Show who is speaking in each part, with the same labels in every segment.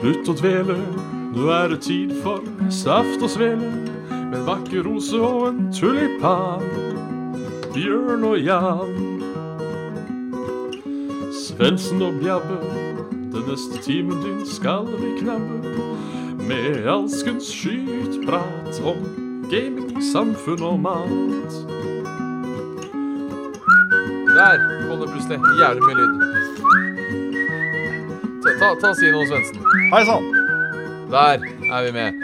Speaker 1: Slutt å dvele, nå er det tid for saft og svele. Med en vakker rose og en tulipan. Bjørn og Jan. Svendsen og Bjabbe, den neste timen din skal vi knabbe. Med alskens skytprat om gaming, samfunn og mat.
Speaker 2: Der kom det plutselig jævlig mye lyd. Ta, ta, ta og Si noe, Svendsen.
Speaker 3: Hei sann!
Speaker 2: Der er vi med.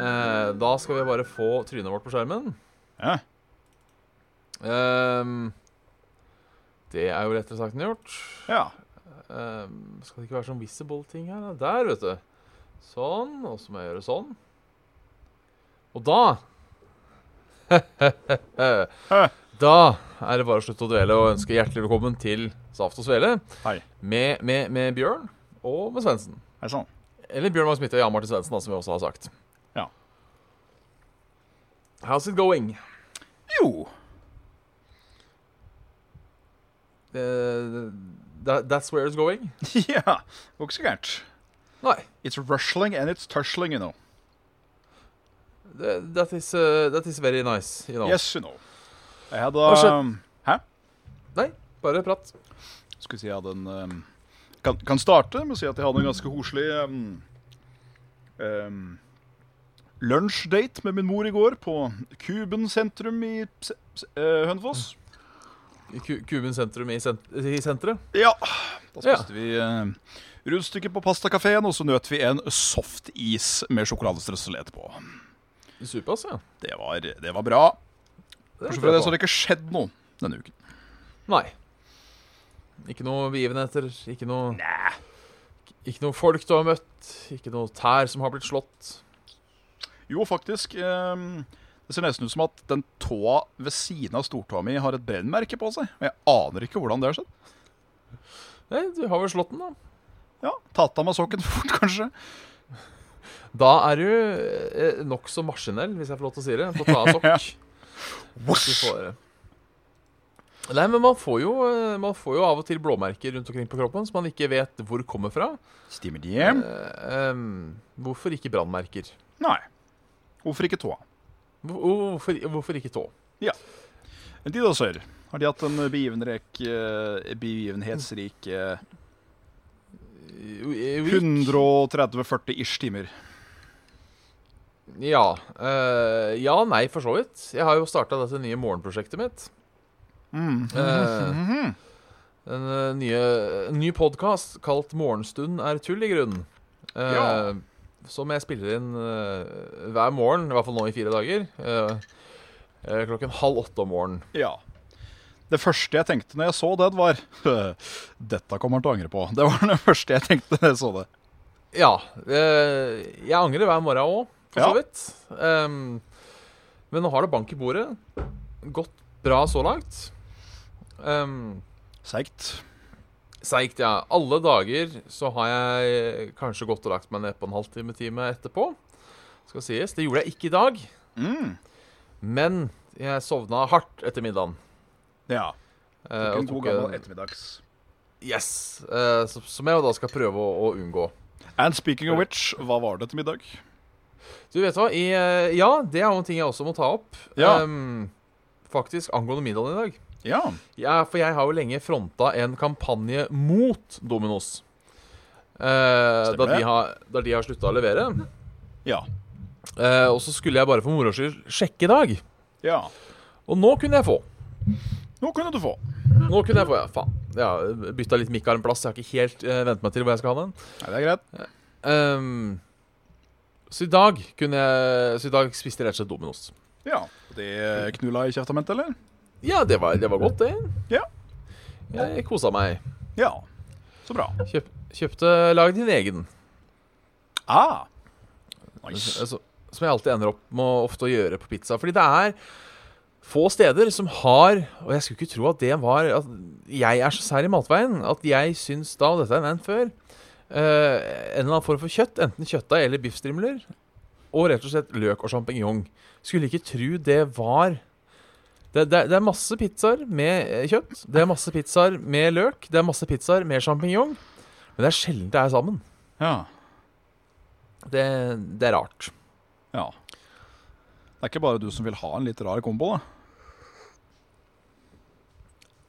Speaker 2: Eh, da skal vi bare få trynet vårt på skjermen.
Speaker 3: Ja.
Speaker 2: Ehm, det er jo lettere sagt enn gjort.
Speaker 3: ja.
Speaker 2: Ehm, skal det ikke være sånn visible-ting her? da? Der, vet du. Sånn. Og så må jeg gjøre sånn. Og da Da er det bare å slutte å dvele og ønske hjertelig velkommen til Saft og Svele
Speaker 3: Hei.
Speaker 2: med, med, med Bjørn og med Svendsen.
Speaker 3: Hei sann.
Speaker 2: Eller Bjørn Magnus Mitte og Jan Martin Svendsen, da, som vi også har sagt.
Speaker 3: Ja.
Speaker 2: How's it going?
Speaker 3: Jo.
Speaker 2: Eh, that, that's where it's going?
Speaker 3: Ja. Går ikke så gærent.
Speaker 2: Nei.
Speaker 3: It's rushling and it's tushling, you know.
Speaker 2: That that is, eh, that is very nice. You know.
Speaker 3: Yes, you know. Jeg hadde
Speaker 2: Hva skjedde?
Speaker 3: um, Hæ?
Speaker 2: Nei, bare prat.
Speaker 3: Skulle si jeg hadde en um, kan, kan starte med å si at jeg hadde en ganske koselig um, um, lunsjdate med min mor i går på Kuben sentrum i se, se, eh, Hønefoss.
Speaker 2: I Ku- Kuben sentrum i, sent i senteret.
Speaker 3: Ja. Da spiste vi uh, rundstykke på pastakafeen, og så nøt vi en softis med sjokoladestrøssel etterpå.
Speaker 2: Supas, altså, ja.
Speaker 3: Det var, det var bra.
Speaker 2: Det er
Speaker 3: Bortsett
Speaker 2: bra
Speaker 3: fra det så
Speaker 2: på.
Speaker 3: har det ikke skjedd noe denne uken.
Speaker 2: Nei. Ikke noe begivenheter, ikke noe Ikke noe folk du har møtt, ikke noe tær som har blitt slått.
Speaker 3: Jo, faktisk. ehm, det ser nesten ut som at den tåa ved siden av stortåa mi har et brennmerke på seg. Og jeg aner ikke hvordan det har skjedd.
Speaker 2: Nei, du har vel slått den, da.
Speaker 3: Ja, Tatt av meg sokken fort, kanskje.
Speaker 2: Da er du eh, nokså maskinell, hvis jeg får lov til å si det, på å ta av sokk. Du
Speaker 3: Vosh!
Speaker 2: får, eh, Nei, men man får, jo, eh, man får jo av og til blåmerker rundt omkring på kroppen som man ikke vet hvor kommer fra.
Speaker 3: Stimmer de hjem?
Speaker 2: Eh, em, hvorfor ikke brannmerker?
Speaker 3: Nei. Hvorfor ikke tåa?
Speaker 2: Hvor- Hvorfor, hvorfor ikke tå?
Speaker 3: Men de da, sør. Har de hatt en begivenrek, eh, begivenhetsrik eh,
Speaker 2: Eh, jo,
Speaker 3: 130-40 ish timer?
Speaker 2: Ja. eh, ja, nei, for så vidt. Jeg har jo starta dette nye morgenprosjektet mitt.
Speaker 3: Mm.
Speaker 2: Eh, en eh, nye, en ny podkast kalt 'Morgenstund er tull', i grunnen. Eh,
Speaker 3: Ja.
Speaker 2: Som jeg spiller inn eh, hver morgen, i hvert fall nå i fire dager. eh, eh, klokken halv åtte om morgenen.
Speaker 3: Ja. Det første jeg tenkte når jeg så den, var Dette kommer han til å angre på. Det var det første jeg tenkte når jeg så det.
Speaker 2: Ja. eh, jeg angrer hver morgen òg, for så
Speaker 3: Ja.
Speaker 2: vidt. Em, men nå har det bank i bordet. Gått bra så langt. Um,
Speaker 3: Seigt.
Speaker 2: Seigt, ja. Alle dager så har jeg eh, kanskje gått og lagt meg ned på en halvtime-time etterpå. Skal sies. Det gjorde jeg ikke i dag,
Speaker 3: Mm.
Speaker 2: men jeg sovna hardt etter middagen.
Speaker 3: Ja.
Speaker 2: eh, og
Speaker 3: en god
Speaker 2: tok en-
Speaker 3: gammel ettermiddags.
Speaker 2: Yes. eh, som- som jeg jo da skal prøve å, å unngå.
Speaker 3: And speaking of which, hva var det til middag?
Speaker 2: Du vet hva, i, eh, ja, det er jo en ting jeg også må ta opp.
Speaker 3: Ja.
Speaker 2: Em, faktisk angående middagen i dag.
Speaker 3: Ja.
Speaker 2: Ja, for jeg har jo lenge fronta en kampanje mot Dominos. Eh, da,
Speaker 3: Stemmer
Speaker 2: de
Speaker 3: det.
Speaker 2: har, da de har slutta å levere.
Speaker 3: Ja.
Speaker 2: Eh, og så skulle jeg bare for moro skyld sjekke i dag.
Speaker 3: ja.
Speaker 2: Og nå kunne jeg få.
Speaker 3: Nå kunne du få.
Speaker 2: Nå kunne jeg få, ja, faen. Ja, bytta litt mikk av en plass. Jeg har ikke helt eh, vent meg til hvor jeg skal ha den.
Speaker 3: Nei, det er greit.
Speaker 2: Ehm, så i dag kunne jeg Så i dag spiste jeg rett og slett Dominos.
Speaker 3: Ja. Det knulla i kjeftament, eller?
Speaker 2: Ja, det var, det var godt, det.
Speaker 3: Ja.
Speaker 2: Jeg kosa meg.
Speaker 3: Ja. Så bra.
Speaker 2: Kjøp, kjøpte Lag din egen.
Speaker 3: Ah.
Speaker 2: Så-
Speaker 3: Nice.
Speaker 2: så- Som jeg alltid ender opp med å- ofte å gjøre på pizza. Fordi det er få steder som har Og jeg skulle ikke tro at det var At jeg er så sær i matveien at jeg syns da, og dette har jeg nevnt før, eh, en eller annen form for kjøtt, enten kjøttdeig eller biffstrimler, og rett og slett løk og sjampinjong. Skulle ikke tro det var det, det, det er masse pizzaer med eh, kjøtt, det er masse pizzaer eh, med løk, det er masse pizzaer med sjampinjong, men det er sjelden det er sammen.
Speaker 3: Ja.
Speaker 2: Det, det er rart.
Speaker 3: Ja. Det er ikke bare du som vil ha en litt rar kombo, da.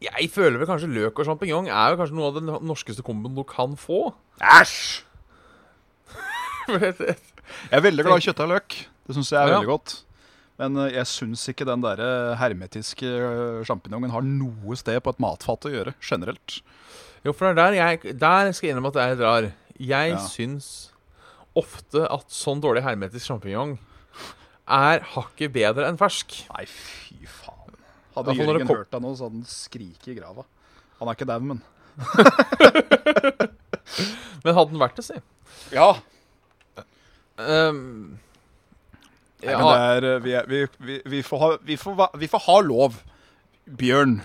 Speaker 2: Jeg føler vel kanskje løk og sjampinjong er jo kanskje noe av den norskeste komboen du kan få.
Speaker 3: Æsj!
Speaker 2: For det-
Speaker 3: Jeg er veldig glad i kjøtt og løk. Det syns jeg er
Speaker 2: Ja.
Speaker 3: veldig godt. Men eh, jeg syns ikke den der eh, hermetiske eh, sjampinjongen har noe sted på et matfat å gjøre, generelt.
Speaker 2: Jo, for det er der jeg Der skal jeg innrømme at jeg er rar. Jeg
Speaker 3: Ja.
Speaker 2: syns ofte at sånn dårlig hermetisk sjampinjong er hakket bedre enn fersk.
Speaker 3: Nei, fy faen.
Speaker 2: Da
Speaker 3: Hadde
Speaker 2: får dere
Speaker 3: Jørgen
Speaker 2: kom-
Speaker 3: hørt deg nå, så hadde han skriket i grava. Han er ikke dau, men
Speaker 2: Men hadde den vært det, si.
Speaker 3: Ja.
Speaker 2: Ehm,
Speaker 3: Nei,
Speaker 2: jeg
Speaker 3: men
Speaker 2: har-
Speaker 3: det er, eh, vi, er- vi, vi, vi, får ha, vi, får, va- vi får ha lov, Bjørn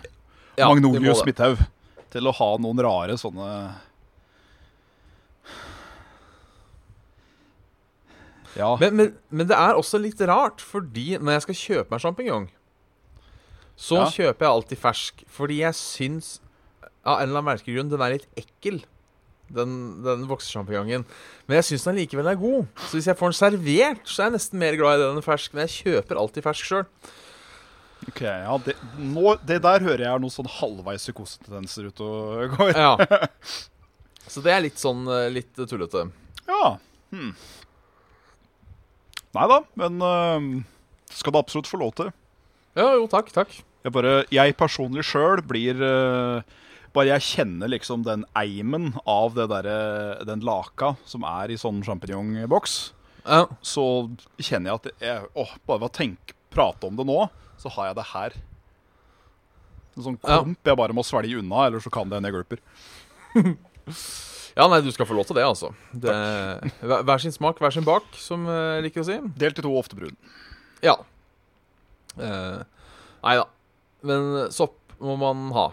Speaker 2: ja, vi må
Speaker 3: Magnolius
Speaker 2: det.
Speaker 3: Midthaug, til å ha noen rare sånne Ja.
Speaker 2: Men, men, men det er også litt rart, fordi når jeg skal kjøpe meg sjampinjong, så
Speaker 3: Ja.
Speaker 2: kjøper jeg alltid fersk. Fordi jeg syns av en eller annen merkelig grunn den er litt ekkel, den, den voksesjampinjongen. Men jeg syns den likevel er god. Så hvis jeg får den servert, så er jeg nesten mer glad i den enn fersk. Men jeg kjøper alltid fersk sjøl.
Speaker 3: Ok, ja, det, nå, det der hører jeg er noen sånn halvveis psykosetendenser ute og går.
Speaker 2: Ja. Så det er litt sånn eh, litt tullete.
Speaker 3: Ja. Hmm. Nei da, men øhm, skal det absolutt få lov til.
Speaker 2: Ja, jo, takk, takk.
Speaker 3: Jeg, bare, jeg personlig sjøl blir øh, Bare jeg kjenner liksom den eimen av det derre- den laka som er i sånn sjampinjongboks,
Speaker 2: Ja.
Speaker 3: så kjenner jeg at jeg, åh, bare ved å tenke, prate om det nå, så har jeg det her. En sånn
Speaker 2: Ja.
Speaker 3: klump jeg bare må svelge unna, eller så kan det hende jeg gulper.
Speaker 2: ja, nei, du skal få lov til det, altså. Det, hver hver sin smak, hver sin bak, som eh, jeg liker å si.
Speaker 3: Delt i to, ofte brun.
Speaker 2: Ja. Eh, nei da. Men sopp må man ha.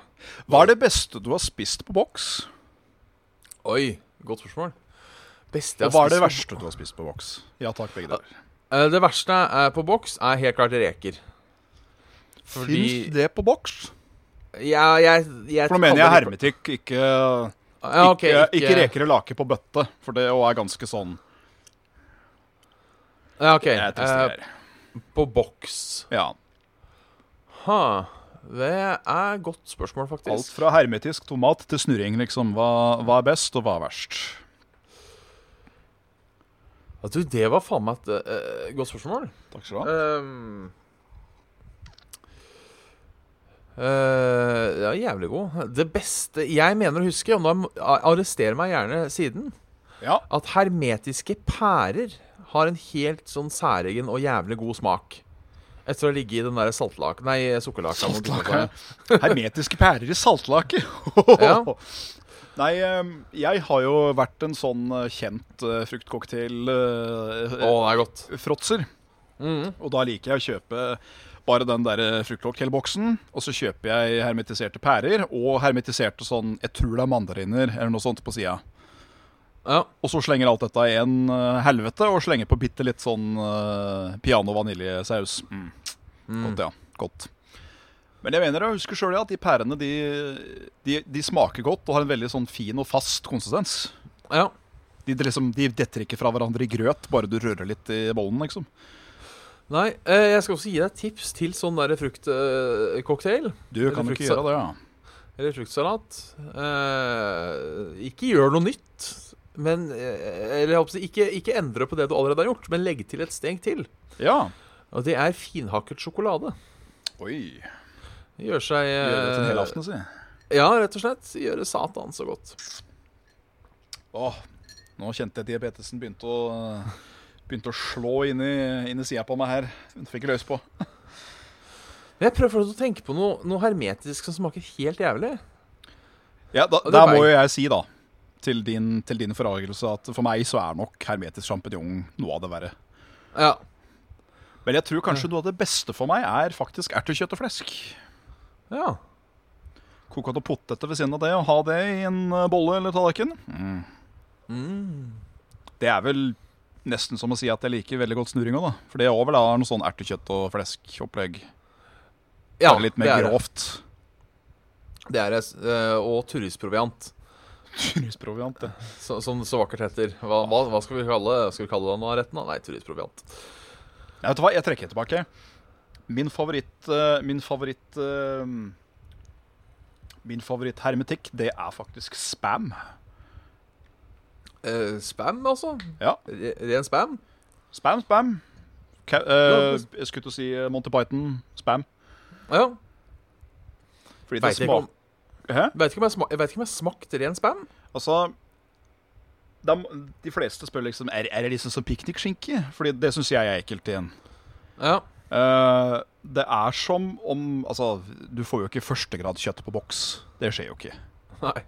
Speaker 3: Hva er det beste du har spist på boks?
Speaker 2: Oi, godt spørsmål. Beste
Speaker 3: Og
Speaker 2: jeg
Speaker 3: hva er det
Speaker 2: har spist
Speaker 3: verste du har spist på boks? Ja takk, begge deler.
Speaker 2: på- Eh, det verste er på boks er helt klart reker. fordi-
Speaker 3: Fins det på boks?
Speaker 2: Ja, jeg, jeg
Speaker 3: For nå mener jeg
Speaker 2: kaller det-
Speaker 3: hermetikk, ikke,
Speaker 2: Ja, ok,
Speaker 3: ikke, ikke reker og lake på bøtte. For det òg er ganske sånn
Speaker 2: Ja, ok.
Speaker 3: Jeg
Speaker 2: eh,
Speaker 3: tester her.
Speaker 2: på boks.
Speaker 3: Ja.
Speaker 2: Ha. Det er et godt spørsmål, faktisk.
Speaker 3: Alt fra hermetisk tomat til snurring, liksom. Hva, hva er best, og hva er verst?
Speaker 2: Ja, du, det var faen meg et eh, godt spørsmål.
Speaker 3: Takk skal du ha.
Speaker 2: Ehm. Eh, ja, jævlig god. Det beste jeg mener å huske, og nå må- a- arrester meg gjerne siden,
Speaker 3: Ja,
Speaker 2: at hermetiske pærer har en helt sånn særegen og jævlig god smak. Etter å ligge i den derre saltlak... Nei, sukkerlaka. må du ta
Speaker 3: Saltlaka.
Speaker 2: på.
Speaker 3: Hermetiske pærer i saltlake.
Speaker 2: Ja.
Speaker 3: Nei, em, jeg har jo vært en sånn eh, kjent eh, fruktcocktail... eh,
Speaker 2: Å, det er godt.
Speaker 3: fråtser. Og da liker jeg å kjøpe bare den der fruktcocktailboksen. Og så kjøper jeg hermetiserte pærer og hermetiserte sånn Jeg tror det er mandariner eller noe sånt på sida.
Speaker 2: Ja.
Speaker 3: Og så slenger alt dette i en eh, helvete og slenger på bitte litt sånn eh, piano-vaniljesaus. Mm. Godt, ja. Godt. Men jeg mener jeg husker sjøl at de pærene de, de, de smaker godt og har en veldig sånn fin og fast konsistens.
Speaker 2: ja.
Speaker 3: De, liksom, de detter ikke fra hverandre i grøt, bare du rører litt i bollen, liksom.
Speaker 2: Nei, eh, jeg skal også gi deg et tips til sånn derre fruktcocktail.
Speaker 3: Du kan jo ikke
Speaker 2: fruktsalat.
Speaker 3: gjøre det, ja.
Speaker 2: Eller fruktsalat. Eh, ikke gjør noe nytt. Men, eh, eller jeg håper å si, ikke, ikke endre på det du allerede har gjort, men legg til et steg til.
Speaker 3: Ja.
Speaker 2: Og det er finhakket sjokolade.
Speaker 3: Oi.
Speaker 2: Det Gjør seg eh,
Speaker 3: Gjøre det til en hel aften, si.
Speaker 2: Ja, rett og slett. Gjøre satan så godt.
Speaker 3: Eh, Åh, nå kjente jeg diabetesen begynte å, begynte å slå inn i, inn i sida på meg her. Hun fikk løs på.
Speaker 2: Men jeg prøver fortsatt å tenke på noe, noe hermetisk som smaker helt jævlig.
Speaker 3: Ja, da,
Speaker 2: det
Speaker 3: Der
Speaker 2: var
Speaker 3: må
Speaker 2: jeg.
Speaker 3: jo jeg si, da, til din, til din forargelse, at for meg så er nok hermetisk sjampinjong noe av det verre.
Speaker 2: Ja.
Speaker 3: Men jeg tror kanskje noe av det beste for meg er faktisk ertekjøtt og flesk.
Speaker 2: ja.
Speaker 3: Koke noen poteter ved siden av det og ha det i en eh, bolle eller tallerken. Mm.
Speaker 2: Mm.
Speaker 3: Det er vel nesten som å si at jeg liker veldig godt snurring òg, da. For det er også vel da noe sånn ertekjøtt og flesk-opplegg.
Speaker 2: ja
Speaker 3: Bare litt mer
Speaker 2: det er det.
Speaker 3: grovt.
Speaker 2: Det er det. eh, Og turistproviant.
Speaker 3: Turistproviant, ja.
Speaker 2: Så, som det så vakkert heter. Hva, hva, hva skal vi kalle Skal vi kalle den av retten? da? Nei, turistproviant.
Speaker 3: Nei, Vet du hva, jeg trekker tilbake. Min favoritt eh, Min favoritt eh, Min favoritt-hermetikk, det er faktisk spam.
Speaker 2: Eh, spam, altså?
Speaker 3: Ja.
Speaker 2: Re- Ren spam?
Speaker 3: Spam, spam. Ka
Speaker 2: Ja,
Speaker 3: eh, jeg skulle til å si eh, Monty Python, spam.
Speaker 2: Ja.
Speaker 3: Fordi det
Speaker 2: Veit ikke, om-
Speaker 3: smaker Hæ?
Speaker 2: vet ikke om jeg sma- jeg vet ikke om jeg smakte ren spam.
Speaker 3: Altså de, de fleste spør liksom Er, er det liksom som piknikskinke? Fordi det syns jeg er ekkelt igjen.
Speaker 2: Ja.
Speaker 3: Eh, det er som om Altså, du får jo ikke førstegradskjøtt på boks. Det skjer jo ikke.
Speaker 2: Nei.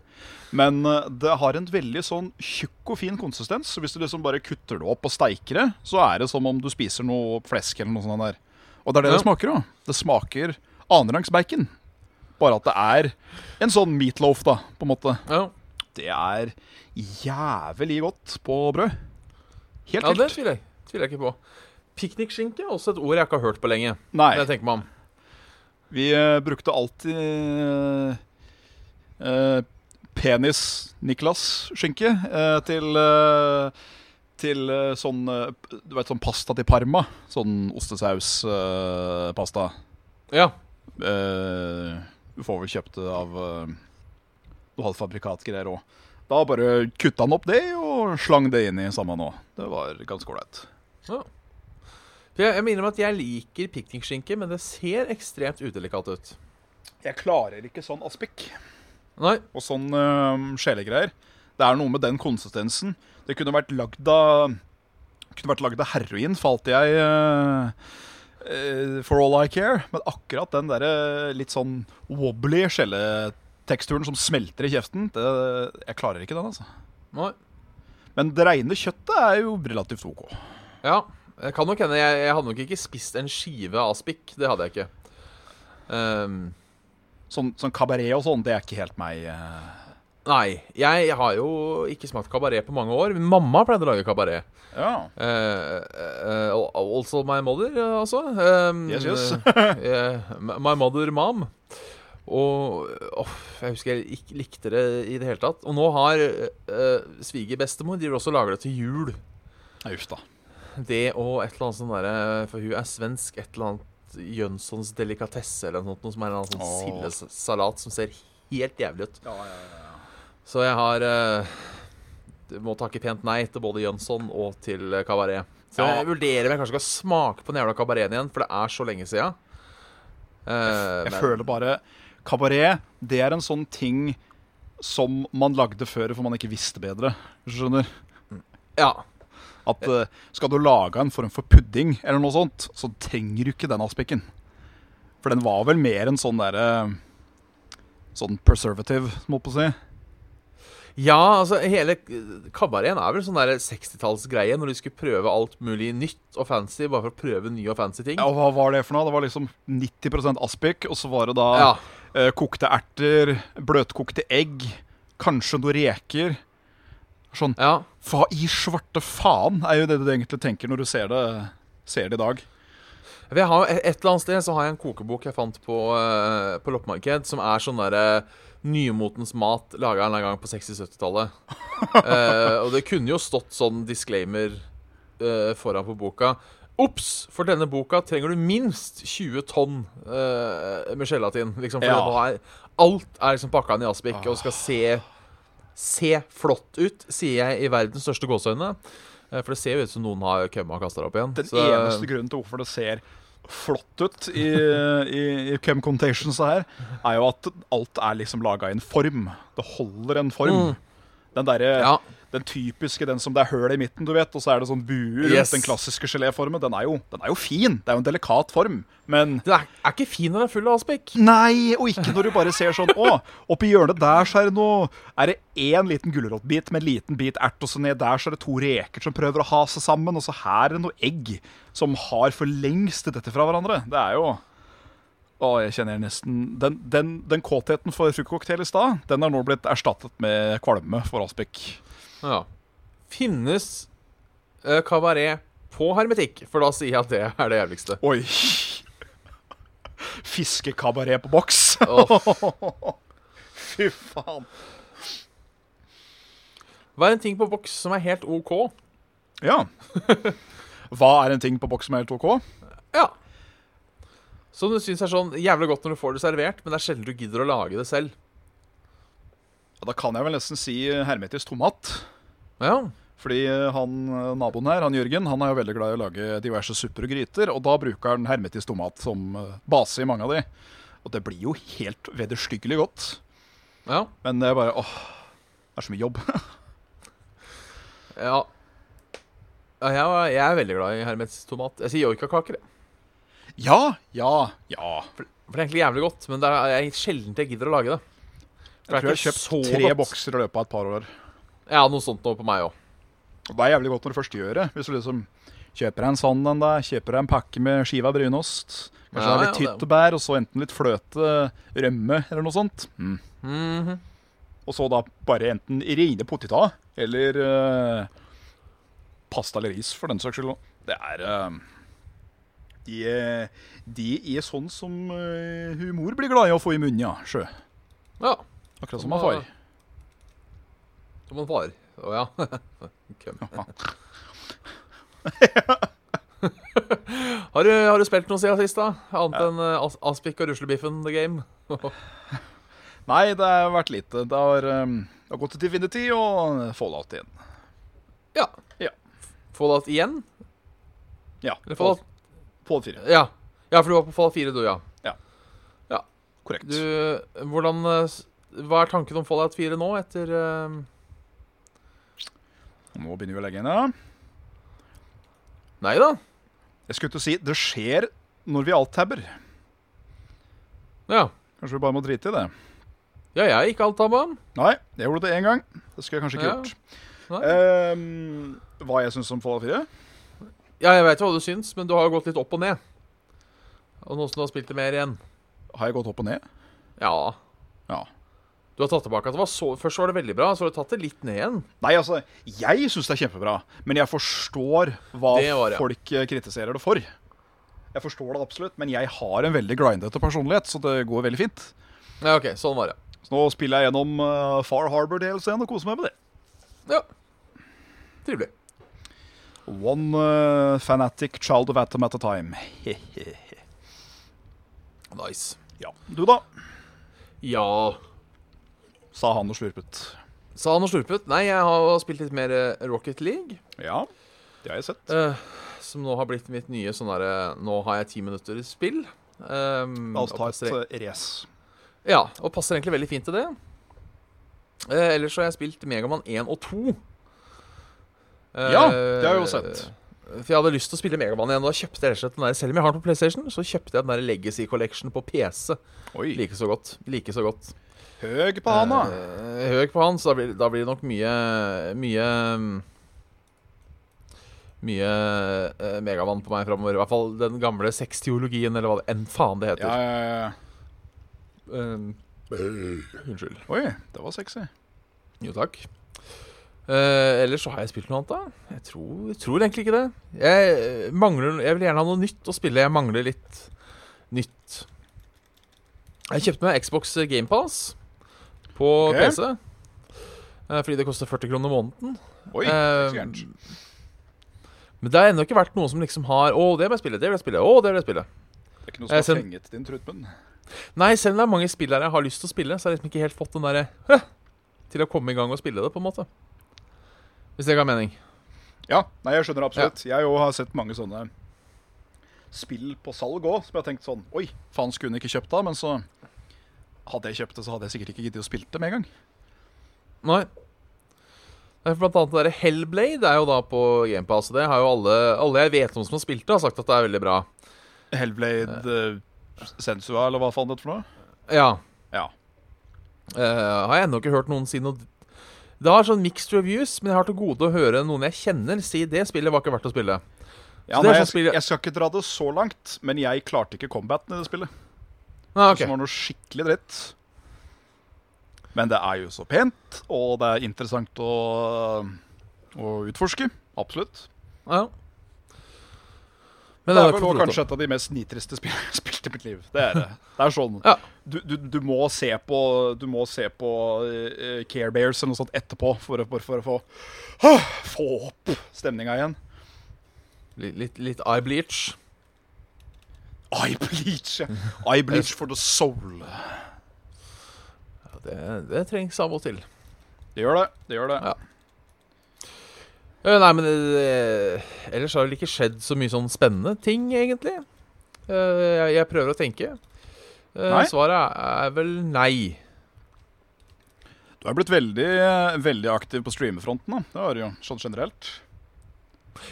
Speaker 3: Men eh, det har en veldig sånn tjukk og fin konsistens. Så hvis du liksom bare kutter det opp og steiker det, så er det som om du spiser noe flesk eller noe sånt der. Og det er det
Speaker 2: Ja.
Speaker 3: det smaker òg. Det smaker annenrangs bacon. Bare at det er en sånn meatloaf, da, på en måte.
Speaker 2: Ja.
Speaker 3: Det er jævlig godt på brød. Helt
Speaker 2: Ja, det
Speaker 3: vilt.
Speaker 2: tviler jeg, tviler jeg ikke på. Piknikskinke er også et ord jeg ikke har hørt på lenge.
Speaker 3: Nei.
Speaker 2: Når jeg tenker meg om.
Speaker 3: Vi eh, brukte alltid eh, eh, penis-Niklas-skinke eh, til eh, til eh, sånn eh, p- Du vet, sånn pasta til Parma. Sånn eh, ostesaus-pasta.
Speaker 2: Ja.
Speaker 3: du Eh, får vel kjøpt det av eh, Du hadde fabrikatgreier òg. Da bare kutta han opp det og slang det inn i samme nå. Det var ganske ålreit.
Speaker 2: For jeg, jeg minner om at jeg liker piknikskinke, men det ser ekstremt udelikat ut.
Speaker 3: Jeg klarer ikke sånn aspik.
Speaker 2: Nei.
Speaker 3: og sånn øhm, sjelegreier. Det er noe med den konsistensen. Det kunne vært lagd av kunne vært lagd av heroin, falt jeg øh, øh, For all I care. Men akkurat den der øh, litt sånn wobbly skjelleteksturen som smelter i kjeften, det, jeg klarer ikke den, altså.
Speaker 2: Nei.
Speaker 3: Men det reine kjøttet er jo relativt OK.
Speaker 2: Ja. Jeg kan nok hende jeg, jeg hadde nok ikke spist en skive aspik. Det hadde jeg ikke. Ehm,
Speaker 3: Sånn, sånn kabaret og sånn, det er ikke helt meg. øh.
Speaker 2: nei. Jeg har jo ikke smakt kabaret på mange år. men Mamma pleide å lage kabaret.
Speaker 3: Ja.
Speaker 2: Eh, eh, eh, also my mother, eh, altså. Um,
Speaker 3: Yes, yes.
Speaker 2: my mother mom. Og åh, jeg husker jeg ikke likte det i det hele tatt. Og nå har eh, svigerbestemor driver også og lager det til jul.
Speaker 3: Nei, Uff da.
Speaker 2: Det og et eller annet sånn derre For hun er svensk. Et eller annet Jønssons delikatesse eller noe sånt. Noe som er en eller annen sånn
Speaker 3: Åh.
Speaker 2: sildesalat som ser helt jævlig ut.
Speaker 3: Ja,
Speaker 2: Så jeg har eh, du Må takke pent nei til både Jønsson og til eh, kabaret. Så
Speaker 3: Ja.
Speaker 2: jeg vurderer om jeg kanskje skal smake på den jævla kabareten igjen, for det er så lenge sia. Eh,
Speaker 3: Jeg
Speaker 2: men-
Speaker 3: føler bare Kabaret, det er en sånn ting som man lagde før for man ikke visste bedre. Skjønner?
Speaker 2: Ja.
Speaker 3: At eh, skal du lage en form for pudding eller noe sånt, så trenger du ikke den aspikken. For den var vel mer en sånn derre Sånn preservative, må jeg på
Speaker 2: Mm.
Speaker 3: si.
Speaker 2: ja, altså hele eh, kabareten er vel sånn der 60-tallsgreie når de skulle prøve alt mulig nytt og fancy bare for å prøve nye og fancy ting.
Speaker 3: Ja, og hva var det for noe? Det var liksom 90 aspik, og så var det da
Speaker 2: Ja.
Speaker 3: eh, kokte erter, bløtkokte egg, kanskje noen reker. Sånn
Speaker 2: ja.
Speaker 3: Hva i svarte faen er jo det du egentlig tenker når du ser det, ser det i dag.
Speaker 2: For Jeg har, et eller annet sted så har jeg en kokebok jeg fant på, eh, på loppemarked, som er sånn derre nymotens mat laga en eller annen gang på 60-70-tallet. Eh, og det kunne jo stått sånn disclaimer eh, foran på boka. Ops! For denne boka trenger du minst 20 tonn eh, med gelatin. Liksom, for
Speaker 3: Ja.
Speaker 2: det var- alt er liksom pakka inn i aspik og skal se, se flott ut, sier jeg i verdens største gåseøyne. Eh, For det ser jo ut som noen har kømma og kasta det opp igjen.
Speaker 3: Den
Speaker 2: Så- eh,
Speaker 3: eneste grunnen til hvorfor det ser flott ut i, i, i Chem Contations her, er jo at alt er liksom laga i en form. Det holder en form. Den derre
Speaker 2: Mm. ja.
Speaker 3: Den typiske, den som det er høl i midten, du vet, og så er det sånn buer rundt
Speaker 2: Yes.
Speaker 3: den klassiske geléformen, den er, jo, den er jo fin. Det er jo en delikat form. Men
Speaker 2: Den er, er ikke fin når den er full av aspik.
Speaker 3: Nei, og ikke når du bare ser sånn Å, oppi hjørnet der så er det noe Er det én liten gulrotbit med en liten bit ert, og så ned der så er det to reker som prøver å ha seg sammen, og så her er det noe egg som har for lengst dette fra hverandre. Det er jo Å, jeg kjenner nesten Den, den, den kåtheten for fruktcocktail i stad, den er nå blitt erstattet med kvalme for aspik.
Speaker 2: Ja. Finnes eh, kabaret på hermetikk? For da sier jeg at det er det jævligste.
Speaker 3: Oi. Fiskekabaret på boks.
Speaker 2: Åh,
Speaker 3: Fy faen.
Speaker 2: Hva er en ting på boks som er helt OK?
Speaker 3: Ja. Hva er en ting på boks som er helt OK?
Speaker 2: Ja. Som du syns er sånn jævlig godt når du får det servert, men det er sjelden du gidder å lage det selv.
Speaker 3: Ja, Da kan jeg vel nesten si eh, hermetisk tomat.
Speaker 2: Ja.
Speaker 3: Fordi eh, han, naboen her, han Jørgen, han er jo veldig glad i å lage diverse supper og gryter, og da bruker han hermetisk tomat som eh, base i mange av de. Og det blir jo helt vederstyggelig godt.
Speaker 2: Ja.
Speaker 3: Men det er bare åh, det er så mye jobb.
Speaker 2: ja. ja jeg, var- jeg er veldig glad i hermetisk tomat. Jeg sier joikakaker. jeg.
Speaker 3: ja, ja, ja.
Speaker 2: For det er egentlig jævlig godt, men det er jeg, sjelden jeg gidder å lage det. For det er
Speaker 3: Jeg tror jeg har
Speaker 2: ikke så
Speaker 3: kjøpt tre
Speaker 2: godt.
Speaker 3: bokser i løpet av et par år.
Speaker 2: Ja, noe sånt noe på meg òg.
Speaker 3: Og det er jævlig godt når du først gjør det. Hvis du liksom kjøper deg en sånn en, da. Kjøper deg en pakke med skiva brynost. Kanskje det
Speaker 2: Ja,
Speaker 3: er litt
Speaker 2: ja, det-
Speaker 3: tyttebær, og så enten litt fløte, rømme eller noe sånt. Mm.
Speaker 2: Mhm.
Speaker 3: Og så da bare enten rene poteta eller eh, pasta eller ris, for den saks skyld. Det er eh, de, er- de er sånn som eh, humor blir glad i å få i munnen, ja. Sjø.
Speaker 2: Ja.
Speaker 3: Akkurat som man far.
Speaker 2: Som en far. Å ja. Køm. har, du, har du spilt noe siden sist, da? Annet enn eh, As Aspik og ruslebiffen The Game?
Speaker 3: Nei, det har vært lite. Det har, eh, det har gått til Divinity og Fallout igjen.
Speaker 2: ja.
Speaker 3: Ja.
Speaker 2: Fallout igjen?
Speaker 3: Ja,
Speaker 2: Eller Fallout
Speaker 3: Fallout 4.
Speaker 2: Ja. ja, for du var på Fallout 4, du, ja.
Speaker 3: Korrekt.
Speaker 2: Du, hvordan eh, s- Hva er tanken om Fallout 4 nå, etter eh,
Speaker 3: Nå begynner vi å legge inn, ja.
Speaker 2: Nei da.
Speaker 3: Jeg skulle til å si det skjer når vi alt-tabber.
Speaker 2: Ja.
Speaker 3: Kanskje vi bare må drite i det.
Speaker 2: ja, jeg gikk alt av banen.
Speaker 3: Nei, jeg gjorde det én gang. Det skulle jeg kanskje ikke
Speaker 2: Ja.
Speaker 3: gjort.
Speaker 2: Nei.
Speaker 3: Ehm, hva jeg syns om Fallout 4?
Speaker 2: Ja, jeg veit hva du syns, men du har jo gått litt opp og ned. Og nå som du har spilt det mer igjen.
Speaker 3: Har jeg gått opp og ned?
Speaker 2: Ja.
Speaker 3: Ja.
Speaker 2: Du har tatt tilbake at det var så Først var det veldig bra, så har du tatt det litt ned igjen.
Speaker 3: Nei, altså, jeg syns det er kjempebra, men jeg forstår hva
Speaker 2: Det var det.
Speaker 3: folk eh, kritiserer det for. Jeg forstår det absolutt, men jeg har en veldig grindete personlighet, så det går veldig fint.
Speaker 2: Ja, OK. Sånn var det.
Speaker 3: Så nå spiller jeg gjennom eh, Far Harbor-delscenen og koser meg med det.
Speaker 2: Ja. Trivelig.
Speaker 3: One eh, fanatic child of atom at a time.
Speaker 2: Nice.
Speaker 3: ja. Du, da?
Speaker 2: Ja
Speaker 3: sa han og slurpet.
Speaker 2: Sa han og slurpet. Nei, jeg har jo spilt litt mer eh, Rocket League.
Speaker 3: Ja, det har jeg sett.
Speaker 2: Eh, som nå har blitt mitt nye sånn derre Nå har jeg ti minutter i spill. Um,
Speaker 3: La oss ta
Speaker 2: og passer,
Speaker 3: et eh, race.
Speaker 2: Ja, og passer egentlig veldig fint til det. Eh, ellers så har jeg spilt Megaman 1 og 2. Eh,
Speaker 3: Ja, det har jeg jo sett.
Speaker 2: For jeg hadde lyst til å spille Megaman igjen. og Da kjøpte jeg rett og slett den der, Selv om jeg har den på PlayStation, så kjøpte jeg den der Legacy Collection på PC.
Speaker 3: Oi.
Speaker 2: Like så godt. Like så godt.
Speaker 3: Høg på hana.
Speaker 2: Eh, høg på han, så da blir, da blir det nok mye Mye mm, Mye eh, megamann på meg framover. I hvert fall den gamle sexteologien, eller hva det enn faen det
Speaker 3: Ja,
Speaker 2: heter.
Speaker 3: ja, ja.
Speaker 2: Eh, unnskyld.
Speaker 3: Oi, det var sexy.
Speaker 2: Jo, takk. Eh, ellers så har jeg spilt noe annet, da. Jeg tror, jeg tror egentlig ikke det. Jeg eh, mangler Jeg vil gjerne ha noe nytt å spille. Jeg mangler litt nytt. Jeg kjøpte meg Xbox Game Pass på
Speaker 3: Ok.
Speaker 2: PC. eh, fordi det koster 40 kroner måneden.
Speaker 3: Oi,
Speaker 2: Eh,
Speaker 3: så gærent.
Speaker 2: men det har ennå ikke vært noen som liksom har Å, det vil jeg spille, det vil jeg spille, å, det vil jeg spille.
Speaker 3: Det er ikke noe som
Speaker 2: jeg
Speaker 3: har
Speaker 2: eh, send-
Speaker 3: fenget din trutmunn.
Speaker 2: Nei, selv om det er mange spill her jeg har lyst til å spille, så har jeg liksom ikke helt fått den derre «Hø!» til å komme i gang og spille det, på en måte. Hvis det ga mening.
Speaker 3: Ja, nei, jeg skjønner absolutt. Jeg òg har sett mange sånne spill på salg òg, som jeg har tenkt sånn Oi, faen, skulle hun ikke kjøpt det? Men så hadde jeg kjøpt det, så hadde jeg sikkert ikke giddet å spille det med en gang.
Speaker 2: Nei. Nei, for Blant annet det der Hellblade er jo da på GamePass. og Det har jo alle, alle jeg vet om som har spilt det, har sagt at det er veldig bra.
Speaker 3: Hellblade eh, Sensua, eller hva faen det er for noe?
Speaker 2: Ja.
Speaker 3: Ja.
Speaker 2: Eh, har jeg ennå ikke hørt noen si noe Det har sånn mixed reviews, men jeg har til gode å høre noen jeg kjenner si det spillet var ikke verdt å spille.
Speaker 3: ja nei,
Speaker 2: det er sånn
Speaker 3: jeg,
Speaker 2: spill-
Speaker 3: jeg skal ikke dra det så langt, men jeg klarte ikke combaten i det spillet.
Speaker 2: Nei, ok.
Speaker 3: som var noe skikkelig dritt. Men det er jo så pent, og det er interessant å, å utforske. Absolutt.
Speaker 2: Ja.
Speaker 3: Det
Speaker 2: Men
Speaker 3: er vel
Speaker 2: har jeg ikke
Speaker 3: også
Speaker 2: fått
Speaker 3: kanskje et av de mest nitriste spill- spilt i mitt liv. Det er det. Det er sånn.
Speaker 2: Ja.
Speaker 3: Du, du, du må se på, du må se på eh, eh, Care Bears eller noe sånt etterpå for, å- for, for å få, ah, få opp stemninga igjen.
Speaker 2: Litt, litt, litt eye bleach.
Speaker 3: I bleach! ja. I bleach for the soul.
Speaker 2: Ja, Det, det trengs av og til.
Speaker 3: Det gjør det. det, gjør det.
Speaker 2: Ja. Eh, Nei, men eh, ellers har det vel ikke skjedd så mye sånn spennende ting, egentlig. Eh, Jeg, jeg prøver å tenke. Eh,
Speaker 3: Nei?
Speaker 2: Svaret er- er vel nei.
Speaker 3: Du er blitt veldig, eh, veldig aktiv på streamefronten. da. Det har du jo sånn generelt.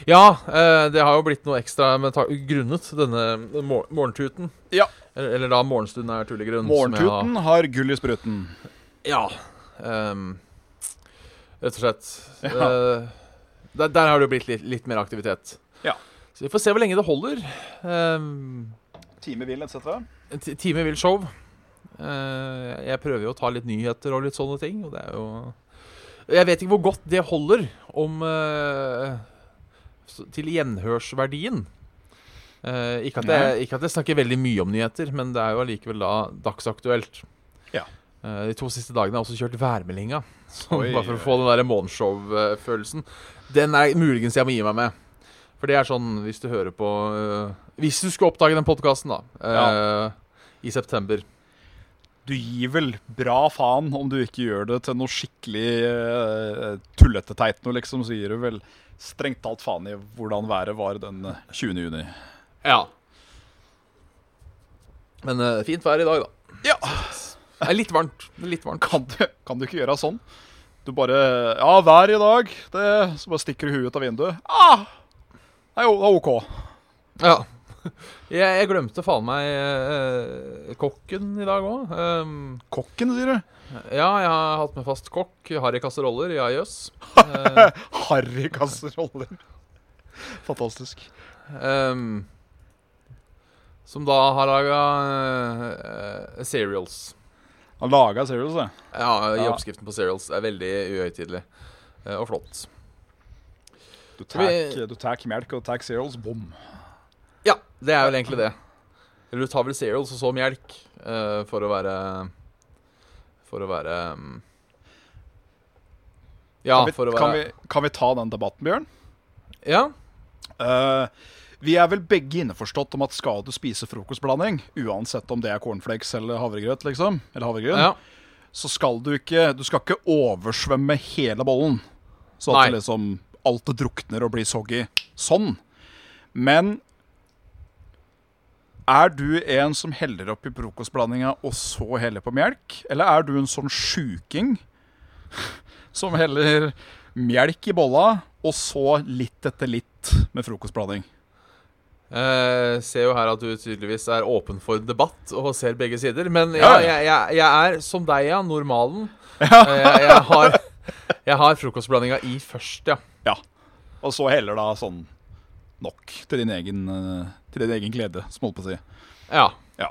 Speaker 2: Ja, eh, det har jo blitt noe ekstra med ta grunnet denne mor morgentuten.
Speaker 3: Ja.
Speaker 2: Eller, eller da morgenstund er tullegrunn. som jeg har-
Speaker 3: Morgentuten har gull i spruten.
Speaker 2: Ja. ehm, rett og slett.
Speaker 3: Ja.
Speaker 2: Eh, der, der har det jo blitt litt, litt mer aktivitet.
Speaker 3: Ja.
Speaker 2: Så vi får se hvor lenge det holder. Ehm,
Speaker 3: Time vil, etc.
Speaker 2: En ti- time vil show. Eh, jeg prøver jo å ta litt nyheter og litt sånne ting, og det er jo Jeg vet ikke hvor godt det holder om eh, s- til gjenhørsverdien. Eh, ikke, at jeg, ikke at jeg snakker veldig mye om nyheter, men det er jo allikevel da dagsaktuelt.
Speaker 3: Ja.
Speaker 2: Eh, de to siste dagene har jeg også kjørt værmeldinga, så
Speaker 3: Oi,
Speaker 2: bare for
Speaker 3: oi.
Speaker 2: å få den der morgenshow-følelsen. Den er muligens jeg må gi meg med. For det er sånn, hvis du hører på øh, Hvis du skulle oppdage den podkasten, da. øh, I september.
Speaker 3: Du gir vel bra faen om du ikke gjør det til noe skikkelig eh, tullete teit noe, liksom. Så gir du vel strengt talt faen i hvordan været var den eh, 20. juni.
Speaker 2: Ja. Men øh, fint vær i dag, da.
Speaker 3: Ja.
Speaker 2: Det er litt varmt. det er Litt varmt.
Speaker 3: Kan du, kan du ikke gjøre sånn? Du bare Ja, vær i dag. Det, så bare stikker du huet ut av vinduet. Ah! Det er jo det er OK.
Speaker 2: Ja. Jeg, jeg glemte faen meg øh, kokken i dag òg.
Speaker 3: Kokken, sier du?
Speaker 2: ja, jeg har hatt med fast kokk. Harry kasseroller. Ja, jøss. Eh,
Speaker 3: Harry kasseroller. Fantastisk.
Speaker 2: Ehm, som da har eh, laga cereals.
Speaker 3: Han laga seriøst, det.
Speaker 2: Ja, i
Speaker 3: Ja.
Speaker 2: oppskriften på cereals er veldig uhøytidelig eh, og flott.
Speaker 3: Du
Speaker 2: Skal vi-
Speaker 3: tar- Du tar melk og du tar cereals, bom.
Speaker 2: Ja, det er vel egentlig det. Eller du tar vel cereals og så melk eh, for å være For å være mm, Ja,
Speaker 3: Kan vi-
Speaker 2: for å være
Speaker 3: kan, vi, kan vi ta den debatten, Bjørn?
Speaker 2: Ja,
Speaker 3: Eh, vi er vel begge innforstått om at skal du spise frokostblanding, uansett om det er cornflakes eller havregrøt, liksom, eller havregryn,
Speaker 2: ja.
Speaker 3: så skal du ikke Du skal ikke oversvømme hele bollen. Så at
Speaker 2: Nei.
Speaker 3: det liksom alt det drukner og blir soggy. Sånn. Men er du en som heller opp i frokostblandinga og så heller på melk? Eller er du en sånn sjuking som heller melk i bolla og så litt etter litt med frokostblanding?
Speaker 2: Eh, ser jo her at du tydeligvis er åpen for debatt og ser begge sider. Men ja,
Speaker 3: Ja, ja.
Speaker 2: jeg, jeg, jeg er som deg, ja. Normalen. Eh, jeg, jeg har, jeg har frokostblandinga i først, ja.
Speaker 3: Ja. Og så heller da sånn nok til din egen, eh, til din egen glede, som holdt på å si.
Speaker 2: Ja.
Speaker 3: Ja.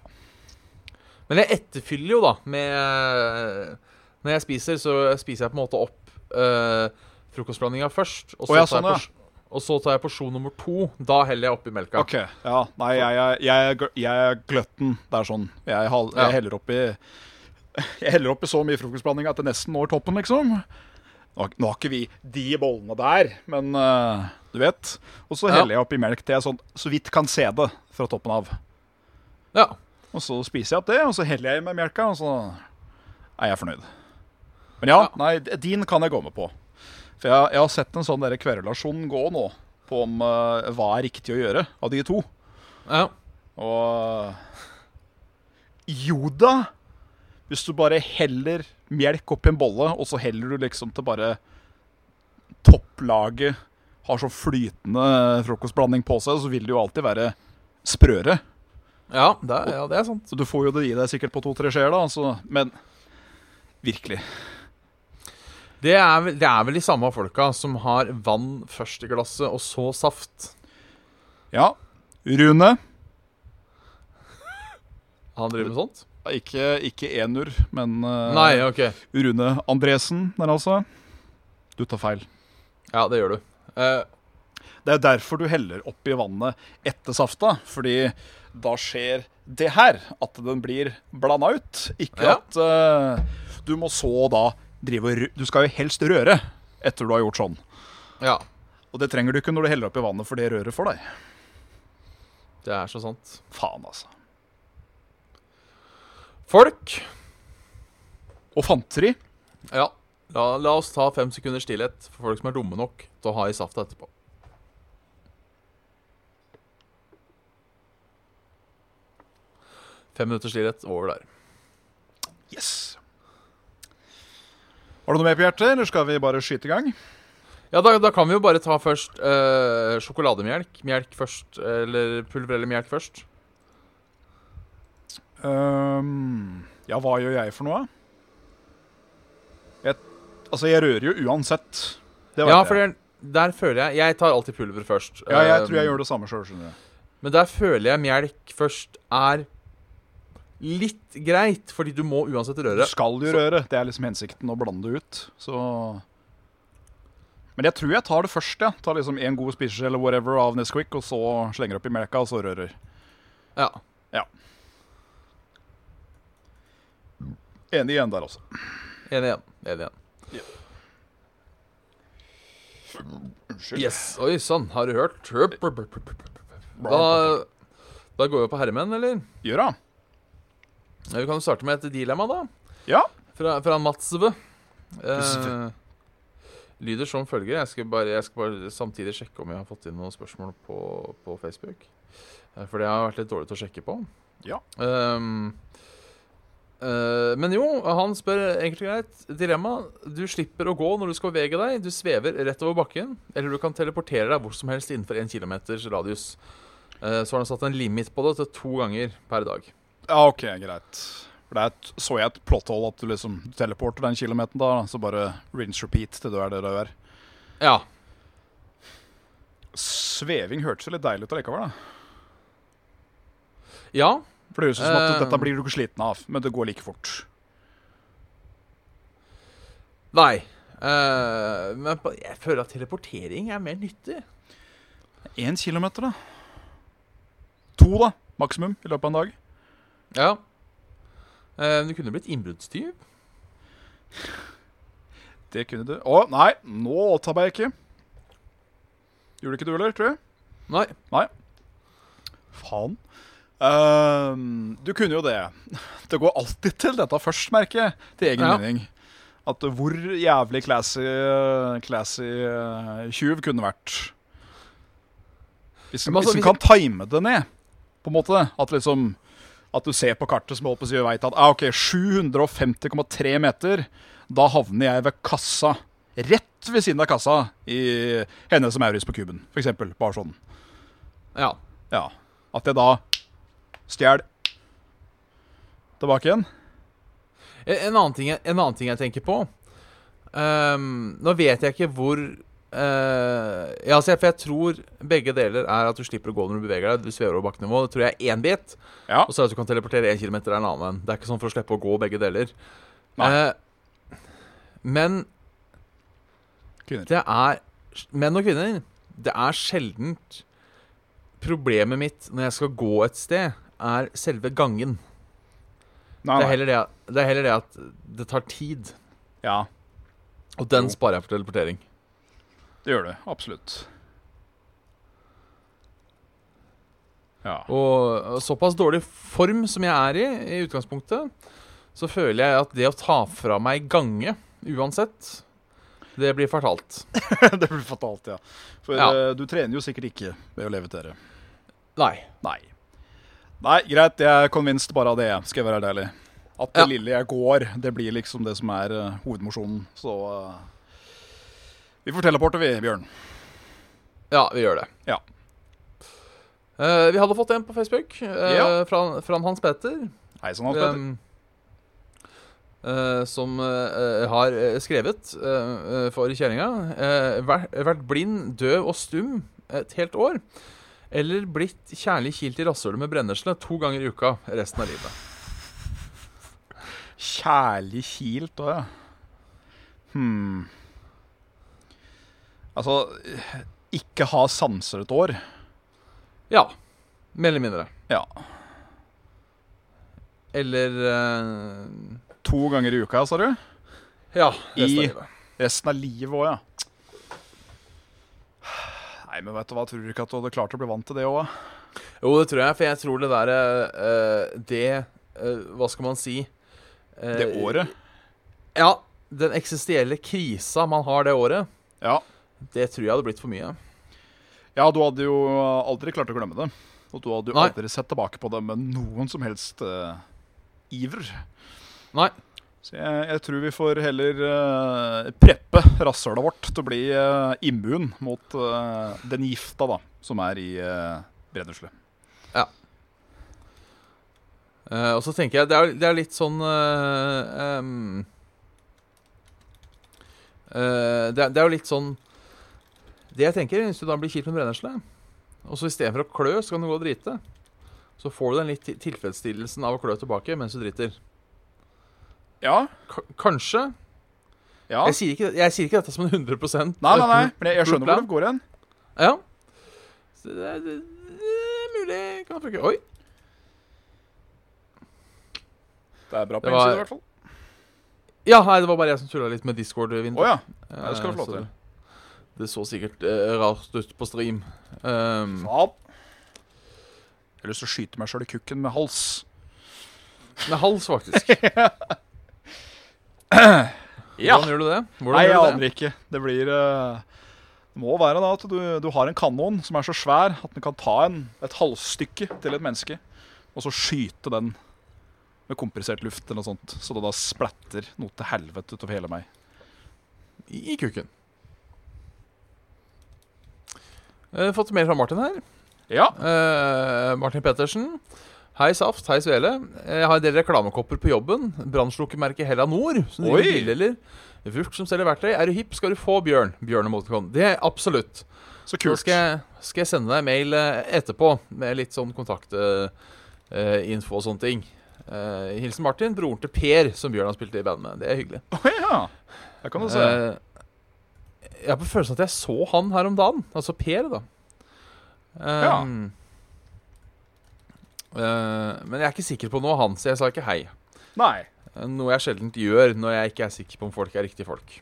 Speaker 2: Men jeg etterfyller jo, da, med Når jeg spiser, så spiser jeg på en måte opp eh, frokostblandinga først. Og så,
Speaker 3: Å ja,
Speaker 2: tar
Speaker 3: sånn, ja.
Speaker 2: jeg pors- og så tar jeg porsjon nummer to. Da heller jeg oppi melka.
Speaker 3: Ok, ja, nei, jeg, jeg, jeg, er gl- jeg er gløtten, det er sånn Jeg, hal-
Speaker 2: Ja.
Speaker 3: jeg heller opp i Jeg heller opp i så mye frokostblanding at det nesten når toppen liksom Nå, har- nå har ikke vi de bollene der, men eh, du vet Og så
Speaker 2: Ja.
Speaker 3: heller jeg opp i melk til jeg sånn, så vidt kan se det fra toppen av
Speaker 2: Ja.
Speaker 3: Og så spiser jeg opp det, og så heller jeg i meg melka, og så er jeg fornøyd Men ja,
Speaker 2: Ja.
Speaker 3: nei, d- din kan jeg gå med på For jeg, jeg har sett en sånn der kverulasjon gå nå På om eh, hva er riktig å gjøre av de to
Speaker 2: ja.
Speaker 3: og Joda Hvis du bare heller melk oppi en bolle, og så heller du liksom til bare topplaget har sånn flytende frokostblanding på seg, så vil det jo alltid være sprøere.
Speaker 2: Ja, det, er- ja, det er sant.
Speaker 3: Så du får jo det i deg sikkert på to-tre skjeer, da, altså, men virkelig.
Speaker 2: Det er, vel, det er vel de samme folka som har vann først i glasset, og så saft.
Speaker 3: Ja. Rune.
Speaker 2: Han driver med sånt?
Speaker 3: Ikke, ikke Enur, men eh,
Speaker 2: Nei, OK.
Speaker 3: Rune Andresen der, altså. Du tar feil.
Speaker 2: Ja, det gjør du. Eh,
Speaker 3: Det er derfor du heller oppi vannet etter safta, fordi da skjer det her. At den blir blanda ut. Ikke
Speaker 2: Ja.
Speaker 3: at eh, du må så da drive og rø- Du skal jo helst røre etter du har gjort sånn.
Speaker 2: Ja,
Speaker 3: Og det trenger du ikke når du heller oppi vannet, for det røret for deg.
Speaker 2: det er så sant.
Speaker 3: Faen, altså.
Speaker 2: Folk.
Speaker 3: Og fanteri.
Speaker 2: Ja. La, la oss ta fem sekunders stillhet for folk som er dumme nok til å ha i safta etterpå. Fem minutters stillhet over der.
Speaker 3: Yes. Har du noe mer på hjertet, eller skal vi bare skyte i gang?
Speaker 2: Ja, da, da kan vi jo bare ta først eh, sjokolademelk. Melk først, eller pulver eller melk først.
Speaker 3: Ehm, ja, hva gjør jeg for noe? Jeg, altså, jeg rører jo uansett. Det vet
Speaker 2: Ja,
Speaker 3: jeg.
Speaker 2: for det, der føler jeg Jeg tar alltid pulver først.
Speaker 3: ja, jeg
Speaker 2: Eh,
Speaker 3: tror jeg gjør det samme sjøl, skjønner du.
Speaker 2: Men der føler jeg melk først er litt greit, fordi du må uansett
Speaker 3: Du
Speaker 2: røre.
Speaker 3: skal jo
Speaker 2: så-
Speaker 3: røre. Det er liksom hensikten å blande det ut. Så Men jeg tror jeg tar det først, ja. Tar liksom en god spiseskje eller whatever av Nesquik, og så slenger oppi melka, og så rører.
Speaker 2: Ja.
Speaker 3: Enig igjen der altså. også.
Speaker 2: Enig igjen. Enig igjen.
Speaker 3: Unnskyld.
Speaker 2: Yes. Oi sann, har du hørt? Da, da går vi på herremenn, eller?
Speaker 3: Gjør det.
Speaker 2: Ja, Vi kan jo starte med et dilemma, da.
Speaker 3: Ja.
Speaker 2: Fra, fra Matsve. Eh,
Speaker 3: Sve.
Speaker 2: lyder som følger. Jeg skal, bare, jeg skal bare samtidig sjekke om jeg har fått inn noen spørsmål på, på Facebook. Eh, For det har vært litt dårlig til å sjekke på.
Speaker 3: Ja.
Speaker 2: Ehm, eh, men jo, han spør enkelt og greit. Dilemma. Du slipper å gå når du skal bevege deg. Du svever rett over bakken. Eller du kan teleportere deg hvor som helst innenfor 1 km radius. Eh, så har han satt en limit på det til to ganger per dag.
Speaker 3: Ja, ok, greit. For det er et, så jeg et plotthold at du liksom teleporter den kilometeren da, så bare rinse repeat til du er der du er.
Speaker 2: Ja.
Speaker 3: Sveving hørtes jo litt deilig ut allikevel, da.
Speaker 2: Ja.
Speaker 3: For det høres ut som at
Speaker 2: Eh.
Speaker 3: dette blir du ikke sliten av, men det går like fort.
Speaker 2: Nei. Eh, men på- jeg føler at teleportering er mer nyttig.
Speaker 3: Én kilometer, da? To, da, maksimum, i løpet av en dag.
Speaker 2: Ja. Eh, du kunne blitt innbruddstyv.
Speaker 3: Det kunne du. Å, nei, nå tabba jeg ikke. Gjorde ikke du heller, tror jeg?
Speaker 2: Nei.
Speaker 3: Faen. Ehm, du kunne jo det. Det går alltid til dette først, merker jeg. Til egen
Speaker 2: Ja.
Speaker 3: mening. At hvor jævlig classy, classy eh, tjuv kunne vært. Hvis en
Speaker 2: Men altså,
Speaker 3: hvis en
Speaker 2: hvis-
Speaker 3: kan time det ned, på en måte. At liksom At du ser på kartet som holdt på å si og veit at ah, OK, 750,3 meter. Da havner jeg ved kassa. Rett ved siden av kassa i Hennes og Maurits på kuben, f.eks. Bare sånn.
Speaker 2: Ja.
Speaker 3: Ja. At jeg da stjel tilbake igjen.
Speaker 2: En en annen ting, jeg- en annen ting jeg tenker på Ehm, Nå vet jeg ikke hvor eh, Ja, altså, jeg- for jeg tror begge deler er at du slipper å gå når du beveger deg. Du svever over bakkenivå. Det tror jeg er én bit.
Speaker 3: Ja.
Speaker 2: Og så er det at du kan teleportere én kilometer er en annen. en. Det er ikke sånn for å slippe å gå begge deler.
Speaker 3: Nei.
Speaker 2: Eh, men
Speaker 3: Kvinner.
Speaker 2: Det er Menn og kvinner, det er sjeldent Problemet mitt når jeg skal gå et sted, er selve gangen.
Speaker 3: Nei,
Speaker 2: Det er
Speaker 3: Ah, nei.
Speaker 2: heller det, at- det, er heller det at det tar tid.
Speaker 3: Ja,
Speaker 2: Og den
Speaker 3: Jo.
Speaker 2: sparer jeg for teleportering.
Speaker 3: det gjør det. Absolutt. Ja.
Speaker 2: Og og såpass dårlig form som jeg er i, i utgangspunktet, så føler jeg at det å ta fra meg gange uansett, det blir fortalt.
Speaker 3: det blir fatalt, ja. For
Speaker 2: Ja.
Speaker 3: eh, du trener jo sikkert ikke ved å levitere.
Speaker 2: Nei.
Speaker 3: Nei. Nei, greit. Jeg er convinced bare av det, jeg, skal jeg være helt ærlig. At det
Speaker 2: Ja.
Speaker 3: lille jeg går, det blir liksom det som er eh, hovedmosjonen. Så eh, Vi får teleporte, vi, Bjørn.
Speaker 2: Ja, vi gjør det.
Speaker 3: Ja.
Speaker 2: Eh, vi hadde fått en på Facebook eh,
Speaker 3: Ja.
Speaker 2: fra, fra Hans Petter.
Speaker 3: Hei sann, Hans Petter.
Speaker 2: Um, eh, som eh, har eh, skrevet eh, eh, for kjerringa eh, vært, vært blind, døv og stum et helt år. Eller blitt kjærlig kilt i rasshølet med brennesle to ganger i uka resten av livet.
Speaker 3: Kjærlig kilt òg, ja. Hmm. Altså ikke ha sanser et år.
Speaker 2: Ja. Mer eller mindre.
Speaker 3: Ja.
Speaker 2: Eller eh,
Speaker 3: To ganger i uka, sa du?
Speaker 2: Ja. resten av
Speaker 3: I-
Speaker 2: livet.
Speaker 3: Resten av livet òg, ja. Nei, men vet du hva, tror du ikke at du hadde klart å bli vant til det òg?
Speaker 2: Jo, det tror jeg, for jeg tror det der eh, Det eh, Hva skal man si? Eh,
Speaker 3: Det året?
Speaker 2: Ja. Den eksistensielle krisa man har det året,
Speaker 3: Ja.
Speaker 2: det tror jeg hadde blitt for mye.
Speaker 3: ja, du hadde jo aldri klart å glemme det. Og du hadde jo
Speaker 2: Nei.
Speaker 3: aldri sett tilbake på det med noen som helst eh, iver.
Speaker 2: Nei.
Speaker 3: Så jeg, jeg tror vi får heller eh, preppe rasshølet vårt til å bli eh, immun mot eh, den gifta da, som er i uh, Brennesle.
Speaker 2: Eh, og så tenker jeg Det er, det er litt sånn eh, em, eh, det, er, det er jo litt sånn Det jeg tenker, hvis du da blir kjipt med brennesle, og så istedenfor å klø, så kan du gå og drite. Så får du den litt til- tilfredsstillelsen av å klø tilbake mens du driter.
Speaker 3: Ja,
Speaker 2: Ka- Kanskje.
Speaker 3: ja.
Speaker 2: Jeg, sier ikke, jeg sier ikke dette som en 100
Speaker 3: Nei, nei, nei, men jeg, jeg skjønner hvor det går hen.
Speaker 2: Ja. Så det, er- det, det er mulig kan funke. Oi.
Speaker 3: Det er bra
Speaker 2: Det
Speaker 3: på innsiden
Speaker 2: var-
Speaker 3: i hvert fall.
Speaker 2: Ja, nei, det var bare jeg som tulla litt med Discord-vinduet.
Speaker 3: Å ja. det skal du få lov
Speaker 2: Eh, så
Speaker 3: til.
Speaker 2: det- Det så sikkert eh, rart ut på stream. Um,
Speaker 3: Faen. Jeg har lyst til å skyte meg sjøl i kukken med hals.
Speaker 2: med hals, faktisk. Hvordan gjør du det? Hvordan
Speaker 3: Nei, jeg
Speaker 2: gjør du
Speaker 3: aner ikke. Det blir eh, Det må være da at du, du har en kanon som er så svær at den kan ta en, et halsstykke til et menneske, og så skyte den med komprimert luft eller noe sånt, så det da splatter noe til helvete utover hele meg.
Speaker 2: I, I kuken. Eh, fått mer fra Martin her.
Speaker 3: Ja.
Speaker 2: Eh, Martin Pettersen. Hei, Saft. Hei, Svele. Jeg har en del reklamekopper på jobben. Brannslukkermerket Hella Nord. Som
Speaker 3: Oi!
Speaker 2: driver bildeler. Vurt som selger verktøy. Er du hipp, skal du få Bjørn. Bjørnemotikon. Det er absolutt.
Speaker 3: Så
Speaker 2: Så
Speaker 3: kult.
Speaker 2: skal jeg, skal jeg sende deg mail eh, etterpå med litt sånn kontaktinfo og sånne ting. Eh, hilsen Martin, broren til Per, som Bjørn har spilt i band med. Det er hyggelig.
Speaker 3: Å ja. Der kan du se.
Speaker 2: Eh, jeg har på følelsen at jeg så han her om dagen. Altså Per, da. Ehm, eh, men jeg er ikke sikker på noe han, så jeg sa ikke hei. Eh,
Speaker 3: Nei.
Speaker 2: Noe jeg sjelden gjør når jeg ikke er sikker på om folk er riktige folk.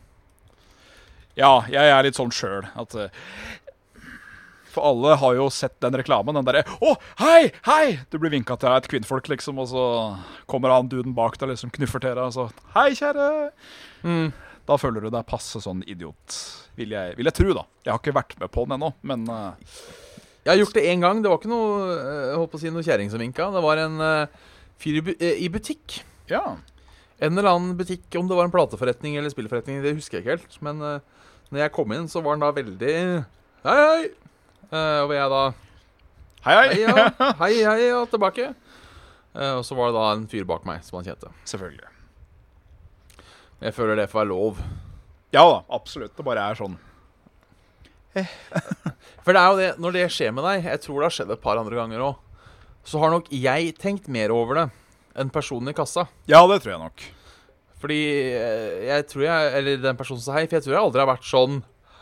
Speaker 3: Ja, jeg er litt sånn sjøl at eh, For alle har jo sett den reklamen. Den derre 'Å, hei, hei!' Du blir vinka til av et kvinnfolk, liksom, og så kommer han duden bak deg liksom knuffer til deg, og så 'Hei, kjære'. Da føler du deg passe sånn idiot, vil jeg, vil jeg tro, da. Jeg har ikke vært med på den ennå, men eh,
Speaker 2: Jeg har gjort det én gang. Det var ikke noe eh, jeg holdt på å si, noe kjerring som vinka. Det var en eh, fyr i, bu eh, i butikk.
Speaker 3: ja.
Speaker 2: En eller annen butikk, om det var en plateforretning eller spillforretning, det husker jeg ikke helt. Men eh, når jeg kom inn, så var han da veldig Hei, hei! Eh, og jeg da
Speaker 3: Hei, hei.
Speaker 2: Hei, ja. hei, hei, ja, tilbake. Eh, og så var det da en fyr bak meg som han kjente.
Speaker 3: Selvfølgelig.
Speaker 2: Jeg føler det får være lov.
Speaker 3: Ja da, absolutt. Det bare er sånn.
Speaker 2: For det er jo det, når det skjer med deg, jeg tror det har skjedd et par andre ganger òg, så har nok jeg tenkt mer over det enn personen i kassa.
Speaker 3: Ja, det tror jeg nok.
Speaker 2: Fordi eh, jeg tror jeg Eller den personen som sa hei, for jeg tror jeg aldri har vært sånn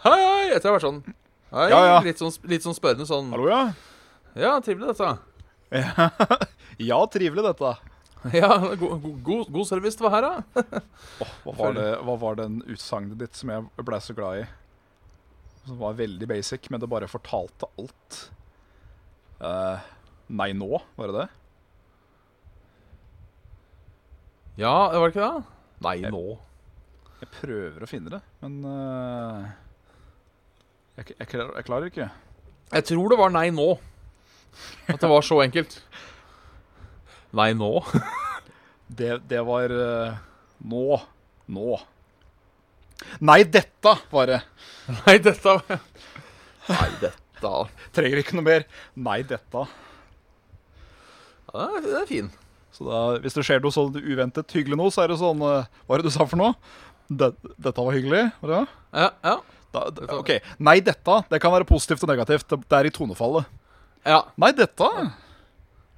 Speaker 2: Hei, hei! Jeg tror jeg har vært sånn Hei,
Speaker 3: Ja, ja.
Speaker 2: Litt, sånn, litt sånn spørrende sånn
Speaker 3: Hallo, ja.
Speaker 2: Ja, trivelig dette.
Speaker 3: Ja, trivelig, dette.
Speaker 2: Ja, god, god- god, god service det var her, da.
Speaker 3: Hva var, det, hva var den utsagnet ditt som jeg ble så glad i? Som var veldig basic, men det bare fortalte alt. Eh, nei, nå, var det det?
Speaker 2: Ja, var det ikke det? Nei, nå.
Speaker 3: Jeg prøver å finne det, men eh, jeg, jeg, klarer, jeg klarer ikke.
Speaker 2: Jeg tror det var nei nå. At det var så enkelt. Nei nå?
Speaker 3: Det, det var eh, nå. Nå. Nei, dette var det.
Speaker 2: Nei, dette Nei, dette
Speaker 3: Trenger ikke noe mer. Nei, dette.
Speaker 2: ja, Det er fin.
Speaker 3: Så da, hvis det skjer noe sånn uventet hyggelig nå, så er det sånn eh, Hva er det du sa for noe? Det, dette var hyggelig? Var det det?
Speaker 2: Ja, ja.
Speaker 3: Da, d- ok, Nei, dette. Det kan være positivt og negativt. Det- Det er i tonefallet.
Speaker 2: ja.
Speaker 3: Nei, dette.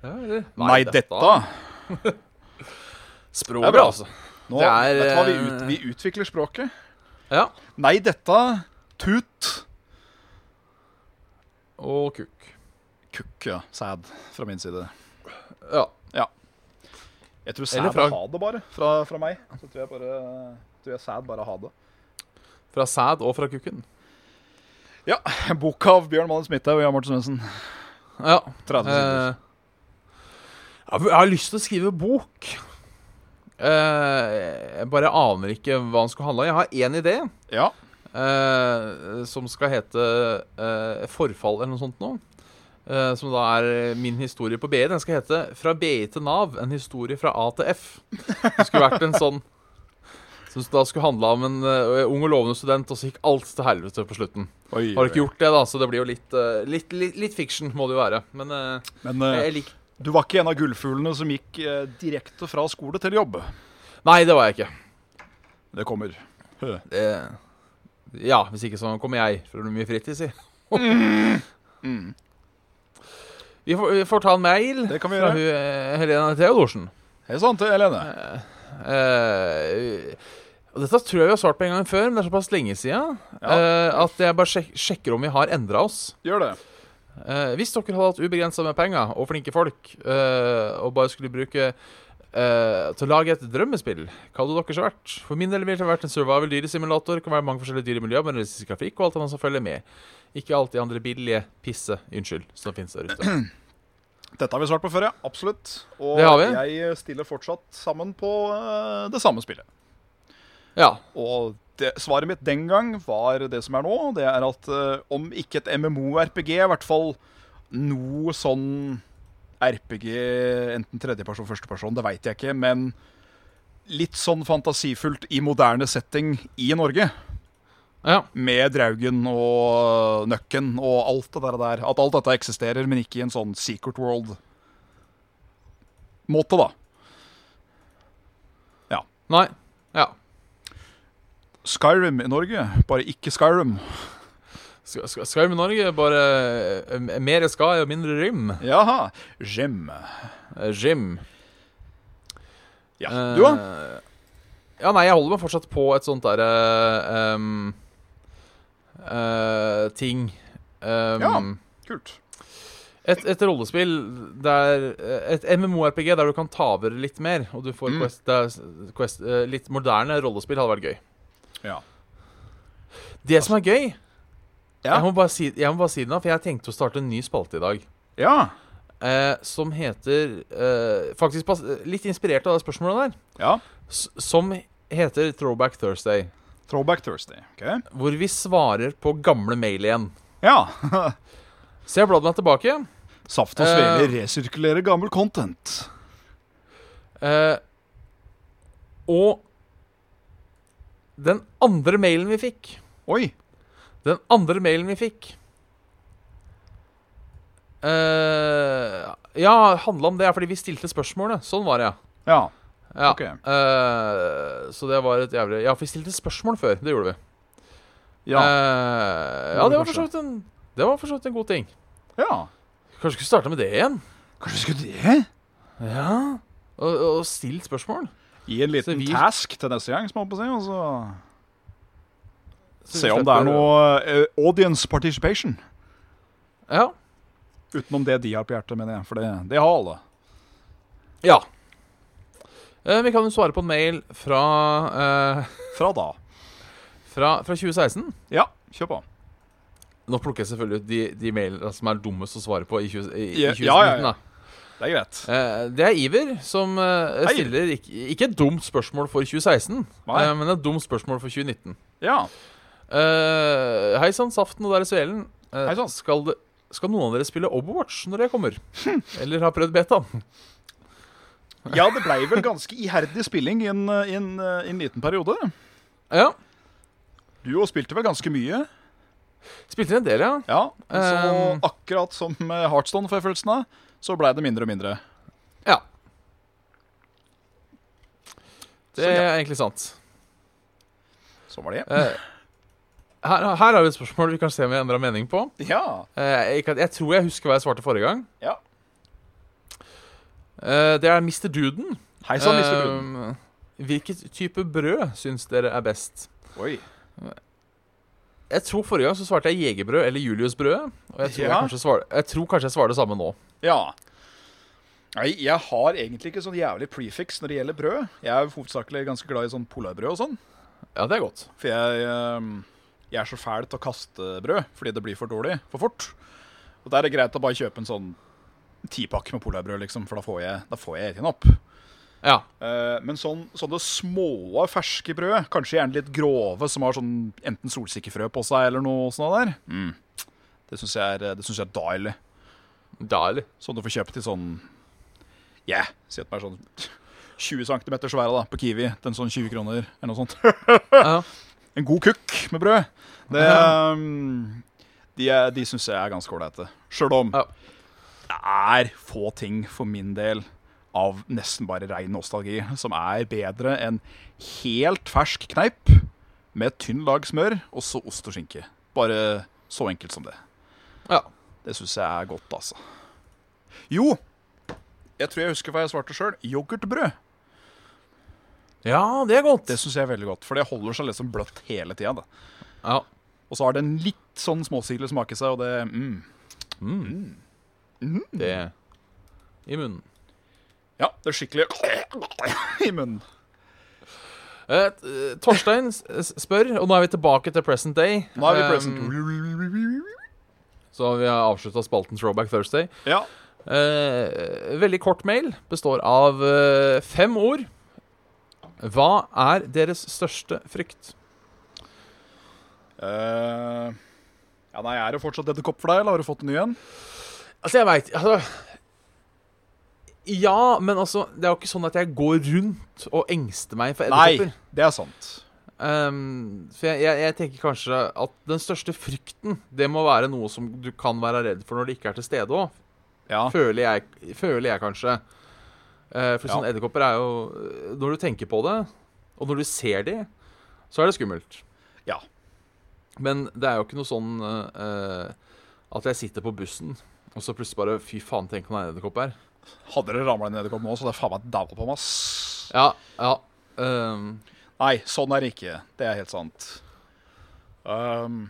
Speaker 2: ja eller?
Speaker 3: Nei, dette.
Speaker 2: Språket,
Speaker 3: Det er bra.
Speaker 2: altså.
Speaker 3: Nå
Speaker 2: Det er,
Speaker 3: vet du hva, vi,
Speaker 2: eh,
Speaker 3: ut, vi utvikler språket.
Speaker 2: Ja.
Speaker 3: Nei, dette. Tut.
Speaker 2: og kuk.
Speaker 3: Kukk, ja. Sæd fra min side.
Speaker 2: Ja.
Speaker 3: Jeg tror
Speaker 2: Eller
Speaker 3: sæd
Speaker 2: fra-
Speaker 3: er ha det, bare. Fra, fra meg. Så tror jeg bare tror jeg sæd bare er ha det.
Speaker 2: Fra sæd og fra kukken.
Speaker 3: Ja. Boka av Bjørn Malin Smithaug og Jan Morten Svendsen.
Speaker 2: Ja.
Speaker 3: 30 sider.
Speaker 2: Eh, ja, jeg har lyst til å skrive bok. Eh, jeg bare aner ikke hva den skal handle om. Jeg har én idé
Speaker 3: Ja.
Speaker 2: eh, som skal hete eh, 'Forfall' eller noe sånt noe. Eh, som da er min historie på BI. Den skal hete 'Fra BI til Nav en historie fra A til F'. Det skulle vært en sånn som da skulle handla om en eh, ung og lovende student, og så gikk alt til helvete på slutten.
Speaker 3: Oi,
Speaker 2: Har du ikke
Speaker 3: oi.
Speaker 2: gjort det, da, så det blir jo litt, eh, litt, litt, litt fiction, må det jo være. Men eh,
Speaker 3: Men eh,
Speaker 2: jeg liker
Speaker 3: du var ikke en av gullfuglene som gikk eh, direkte fra skole til jobb.
Speaker 2: Nei, det var jeg ikke.
Speaker 3: Det kommer. Hø.
Speaker 2: Det... Ja, hvis ikke så kommer jeg, for det blir mye fritid, si.
Speaker 3: Mm.
Speaker 2: Vi får, vi får ta en mail
Speaker 3: Det kan vi gjøre.
Speaker 2: fra hun, eh, Helena Theodorsen.
Speaker 3: Hei sann til Helene.
Speaker 2: Eh, og dette tror jeg vi har svart på en gang før, men det er såpass lenge siden eh, at jeg bare sjek sjekker om vi har endra oss.
Speaker 3: Gjør det.
Speaker 2: Eh, hvis dere hadde hatt ubegrensa med penger og flinke folk, eh, og bare skulle bruke eh, til å lage et drømmespill, hva hadde dere så vært? For min del ville det vært en survival dyresimulator. Kan være mange forskjellige dyr i miljøet, men realistisk grafikk og alt annet som følger med. Ikke alt de andre billige pisse, unnskyld, som finnes der ute.
Speaker 3: Dette har vi svart på før, ja. Absolutt. Og
Speaker 2: Det har vi.
Speaker 3: jeg stiller fortsatt sammen på eh, det samme spillet.
Speaker 2: Ja.
Speaker 3: Og det, svaret mitt den gang var det som er nå. Det er at eh, om ikke et MMO-RPG, i hvert fall noe sånn RPG, enten tredjeperson, førsteperson, det veit jeg ikke, men litt sånn fantasifullt i moderne setting i Norge.
Speaker 2: ja.
Speaker 3: Med Draugen og Nøkken og alt det der. der. At alt dette eksisterer, men ikke i en sånn Secret World-måte, da.
Speaker 2: Nei. Ja.
Speaker 3: Skyrim i Norge, bare ikke Skyrim.
Speaker 2: Skal, skal, skal vi i Norge bare eh, mer skai og mindre rym?
Speaker 3: Jaha. Gem.
Speaker 2: Eh, Jim.
Speaker 3: Ja. Du, da?
Speaker 2: Eh, Ja, nei, jeg holder meg fortsatt på et sånt derre ehm, eh, Ting. Ehm,
Speaker 3: Ja. Kult.
Speaker 2: et, et rollespill der eh, Et MMORPG der du kan ta over litt mer, og du får
Speaker 3: Mm.
Speaker 2: quest, det er quest eh, Litt moderne rollespill hadde vært gøy.
Speaker 3: Ja.
Speaker 2: Det som er gøy
Speaker 3: Ja.
Speaker 2: jeg, må bare si, jeg må bare si det nå, for jeg tenkte å starte en ny spalte i dag.
Speaker 3: ja.
Speaker 2: eh, som heter eh, Faktisk pas- litt inspirert av det spørsmålet der.
Speaker 3: Ja.
Speaker 2: s- Som heter Throwback Thursday.
Speaker 3: Throwback Thursday. ok?
Speaker 2: hvor vi svarer på gamle mail igjen.
Speaker 3: Ja.
Speaker 2: Så jeg bladde meg tilbake.
Speaker 3: Saft og svele resirkulerer gammel content.
Speaker 2: Eh, og den andre mailen vi fikk
Speaker 3: Oi.
Speaker 2: Den andre mailen vi fikk eh, Ja, handla om det, ja, fordi vi stilte spørsmålet. Sånn var det, ja.
Speaker 3: Ja.
Speaker 2: Ja.
Speaker 3: Ok.
Speaker 2: eh, så det var et jævlig Ja, for vi stilte spørsmål før. Det gjorde vi.
Speaker 3: Ja.
Speaker 2: Eh, ja
Speaker 3: Gjorde
Speaker 2: det var
Speaker 3: kanskje.
Speaker 2: for så vidt en Det var for så vidt en god ting.
Speaker 3: ja.
Speaker 2: Kanskje vi skulle starte med det igjen?
Speaker 3: Kanskje vi skulle det?
Speaker 2: Ja. Og, og stilt spørsmål.
Speaker 3: Gi en
Speaker 2: Så
Speaker 3: liten
Speaker 2: vi-
Speaker 3: task til neste gang, som jeg holdt på å si. Og så
Speaker 2: Så
Speaker 3: Se
Speaker 2: vi
Speaker 3: om det er
Speaker 2: slipper-
Speaker 3: noe eh, audience participation.
Speaker 2: Ja.
Speaker 3: Utenom det de har på hjertet, mener jeg. For det, det har alle.
Speaker 2: ja. Eh, vi kan jo svare på en mail fra, eh,
Speaker 3: Fra da.
Speaker 2: fra, fra 2016.
Speaker 3: Ja, kjør på.
Speaker 2: Nå plukker jeg selvfølgelig ut de, de mailene som er dummest å svare på i, 20, i, i
Speaker 3: Ja,
Speaker 2: 2019.
Speaker 3: ja, ja, ja.
Speaker 2: Da.
Speaker 3: Det er greit.
Speaker 2: Eh, det er Iver som eh,
Speaker 3: Hei.
Speaker 2: stiller ikke, ikke et dumt spørsmål for 2016,
Speaker 3: Nei.
Speaker 2: eh, men et dumt spørsmål for 2019.
Speaker 3: Ja.
Speaker 2: Eh, Hei sann, Saften og deres Velen. Eh,
Speaker 3: Hei sann.
Speaker 2: Skal, det- skal noen av dere spille Overwatch når jeg kommer? Eller har prøvd beta?
Speaker 3: ja, det blei vel ganske iherdig spilling i en, eh, i en, eh, i en liten periode.
Speaker 2: Ja.
Speaker 3: Du jo spilte vel ganske mye?
Speaker 2: Spilte inn en del, ja.
Speaker 3: Ja. Så
Speaker 2: Um.
Speaker 3: akkurat som med Heartstone, får jeg følelsen av, så blei det mindre og mindre.
Speaker 2: Ja. Det
Speaker 3: Så, Sånn, ja.
Speaker 2: er egentlig sant.
Speaker 3: Så var det.
Speaker 2: Eh, her, her har vi et spørsmål vi kan se om jeg endra mening på.
Speaker 3: Ja.
Speaker 2: Eh, jeg, kan, jeg tror jeg husker hva jeg svarte forrige gang.
Speaker 3: Ja.
Speaker 2: Eh, det er Mr. Duden.
Speaker 3: Hei sann, Mr. Brun.
Speaker 2: Eh, Eh. hvilket type brød syns dere er best?
Speaker 3: Oi.
Speaker 2: Jeg tror Forrige gang så svarte jeg jegerbrød eller Juliusbrødet. Og jeg tror,
Speaker 3: Ja.
Speaker 2: jeg, kanskje svar, jeg tror kanskje jeg svarer det samme nå.
Speaker 3: Ja. Nei, jeg har egentlig ikke sånn jævlig prefix når det gjelder brød. Jeg er hovedsakelig ganske glad i sånn polarbrød og sånn.
Speaker 2: Ja, det er godt.
Speaker 3: For jeg, ehm, jeg er så fæl til å kaste brød fordi det blir for dårlig for fort. Og der er det greit å bare kjøpe en sånn tipakke med polarbrød, liksom, for da får jeg, da får jeg eten opp.
Speaker 2: Ja.
Speaker 3: Eh, men sånn, sånne små, ferske brød, kanskje gjerne litt grove, som har sånn enten solsikkefrø på seg eller noe sånt der, mm. det syns jeg, er- det synes jeg er deilig.
Speaker 2: Deilig.
Speaker 3: Sånn du får kjøpt i sånn Ja, si at den er sånn 20 cm svære da, på Kiwi. Den sånn 20 kroner eller noe sånt.
Speaker 2: Ja.
Speaker 3: En god kukk med brød. Det, um, de er- de syns jeg er ganske ålreite. Sjøl om
Speaker 2: Ja.
Speaker 3: det er få ting for min del av nesten bare rein nostalgi som er bedre enn helt fersk kneip med et tynn lag smør og så ost og skinke. Bare så enkelt som det.
Speaker 2: ja.
Speaker 3: Det syns jeg er godt, altså. Jo, jeg tror jeg husker hva jeg svarte sjøl. Yoghurtbrød.
Speaker 2: Ja, det er godt.
Speaker 3: Det syns jeg er veldig godt, for det holder seg liksom bløtt hele tida.
Speaker 2: Ja.
Speaker 3: Og så har det en litt sånn småsirlig smak i seg, og det mm.
Speaker 2: Mm. Det i munnen.
Speaker 3: Ja, det er skikkelig i munnen.
Speaker 2: Eh, t- eh, Torstein s- s- spør, og nå er vi tilbake til present day.
Speaker 3: Nå er vi
Speaker 2: Eh,
Speaker 3: present.
Speaker 2: så vi har avslutta spalten Throwback Thursday.
Speaker 3: Ja.
Speaker 2: Eh, veldig kort mail. Består av eh, fem ord. Hva er deres største frykt?
Speaker 3: eh, ja, nei, er det fortsatt edderkopp for deg, eller har du fått en ny en?
Speaker 2: Altså, jeg veit altså, Ja, men altså Det er jo ikke sånn at jeg går rundt og engster meg for edderkopper.
Speaker 3: Nei, det er sant.
Speaker 2: Ehm, for jeg, jeg, jeg tenker kanskje at den største frykten, det må være noe som du kan være redd for når det ikke er til stede òg.
Speaker 3: Ja.
Speaker 2: Føler, jeg- føler jeg kanskje. Eh, for
Speaker 3: Ja.
Speaker 2: sånne edderkopper er jo eh, Når du tenker på det, og når du ser de, så er det skummelt.
Speaker 3: Ja.
Speaker 2: Men det er jo ikke noe sånn eh, eh, at jeg sitter på bussen, og så plutselig bare Fy faen, tenk om det er en edderkopp her.
Speaker 3: Hadde det ramla en edderkopp nå, så det er faen meg daua på meg. ass.
Speaker 2: Ja, ja. ehm,
Speaker 3: Nei, sånn er det ikke. Det er helt sant. Um,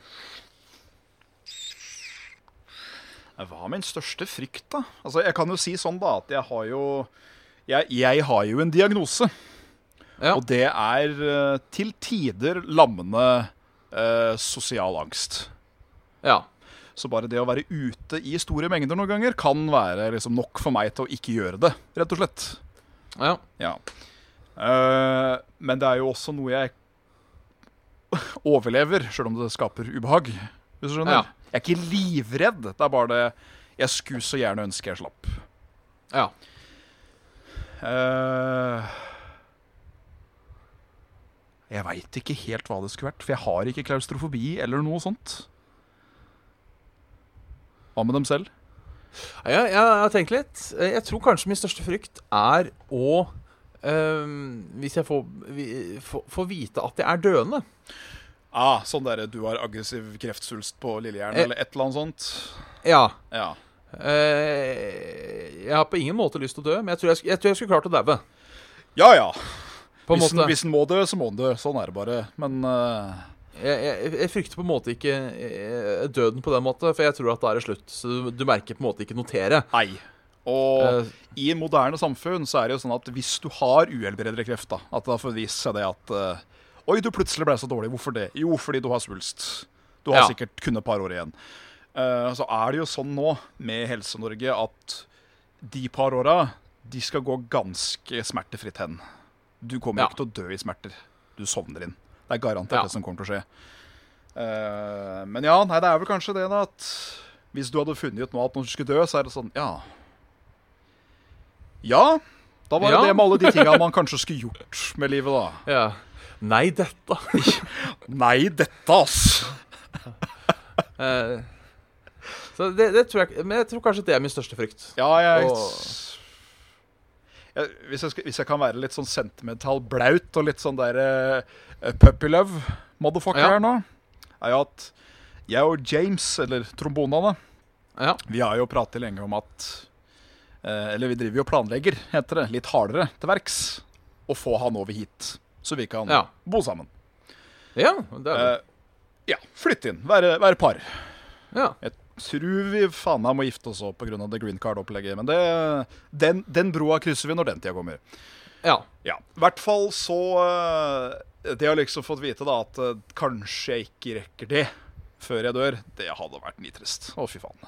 Speaker 3: hva er min største frykt, da? Altså, Jeg kan jo si sånn, da, at jeg har jo Jeg, jeg har jo en diagnose.
Speaker 2: Ja.
Speaker 3: Og det er eh, til tider lammende eh, sosial angst.
Speaker 2: ja.
Speaker 3: Så bare det å være ute i store mengder noen ganger kan være liksom nok for meg til å ikke gjøre det, rett og slett.
Speaker 2: Ja.
Speaker 3: Ja. Eh, men det er jo også noe jeg overlever, sjøl om det skaper ubehag. Hvis du skjønner?
Speaker 2: Ja.
Speaker 3: Jeg er ikke livredd. Det er bare det jeg skulle så gjerne ønske jeg slapp.
Speaker 2: ja.
Speaker 3: Eh, jeg veit ikke helt hva det skulle vært, for jeg har ikke klaustrofobi eller noe sånt. Hva med dem selv?
Speaker 2: Ja, jeg har tenkt litt. Eh, Jeg tror kanskje min største frykt er å ehm, Hvis jeg får, vi- få- få vite at jeg er døende.
Speaker 3: Ah, sånn derre du har aggressiv kreftsvulst på lillehjernen,
Speaker 2: Eh.
Speaker 3: eller et eller annet sånt.
Speaker 2: Ja.
Speaker 3: Ja.
Speaker 2: Eh, jeg har på ingen måte lyst til å dø, men jeg tror jeg, sk- jeg, tror jeg skulle klart å daue.
Speaker 3: ja ja.
Speaker 2: På en
Speaker 3: hvis,
Speaker 2: måte.
Speaker 3: Den, hvis den må dø, så må den dø. Sånn er det bare. Men eh,
Speaker 2: Jeg, jeg, jeg frykter på en måte ikke eh, døden på den måte, for jeg tror at da er det slutt. Så du merker på en måte ikke noteret.
Speaker 3: nei. Og
Speaker 2: Eh.
Speaker 3: i moderne samfunn så er det jo sånn at hvis du har uhelbredelig kreft, da, at da får det vise seg det at eh, Oi, du plutselig ble så dårlig. Hvorfor det? Jo, fordi du har svulst. Du har
Speaker 2: Ja.
Speaker 3: sikkert kun et par år igjen. Eh, så er det jo sånn nå med Helse-Norge at de par åra, de skal gå ganske smertefritt hen. Du kommer
Speaker 2: Ja.
Speaker 3: ikke til å dø i smerter. Du sovner inn. Det er garantert
Speaker 2: Ja.
Speaker 3: det som kommer til å skje. Eh, men ja, nei, det er vel kanskje det, da, at hvis du hadde funnet ut nå at noen skulle dø, så er det sånn Ja. Ja, da var det
Speaker 2: Ja.
Speaker 3: det med alle de tinga man kanskje skulle gjort med livet, da.
Speaker 2: Ja. Nei, dette
Speaker 3: Nei, dette, ass!
Speaker 2: Eh, Så det, det tror jeg ikke- Men jeg tror kanskje det er min største frykt.
Speaker 3: Ja, jeg,
Speaker 2: Åh.
Speaker 3: jeg hvis, jeg skal, hvis jeg kan være litt sånn sentimental blaut og litt sånn der uh, puppy love motherfucker
Speaker 2: Ja.
Speaker 3: her nå, er jo at jeg og James, eller trombona, da,
Speaker 2: Ja.
Speaker 3: Vi har jo pratet lenge om at eh, Eller vi driver jo og planlegger, heter det, litt hardere til verks. Å få han over hit, så vi kan
Speaker 2: Ja.
Speaker 3: bo sammen.
Speaker 2: ja det er det.
Speaker 3: Eh, Ja, flytt inn. Være, være par.
Speaker 2: Ja.
Speaker 3: Jeg tror vi faen meg må gifte oss òg pga. det green card-opplegget. Men det, den, den broa krysser vi når den tida kommer.
Speaker 2: ja.
Speaker 3: Ja, i hvert fall så eh, Det har liksom fått vite da at eh, kanskje jeg ikke rekker det før jeg dør. Det hadde vært nitrist. Å, fy faen.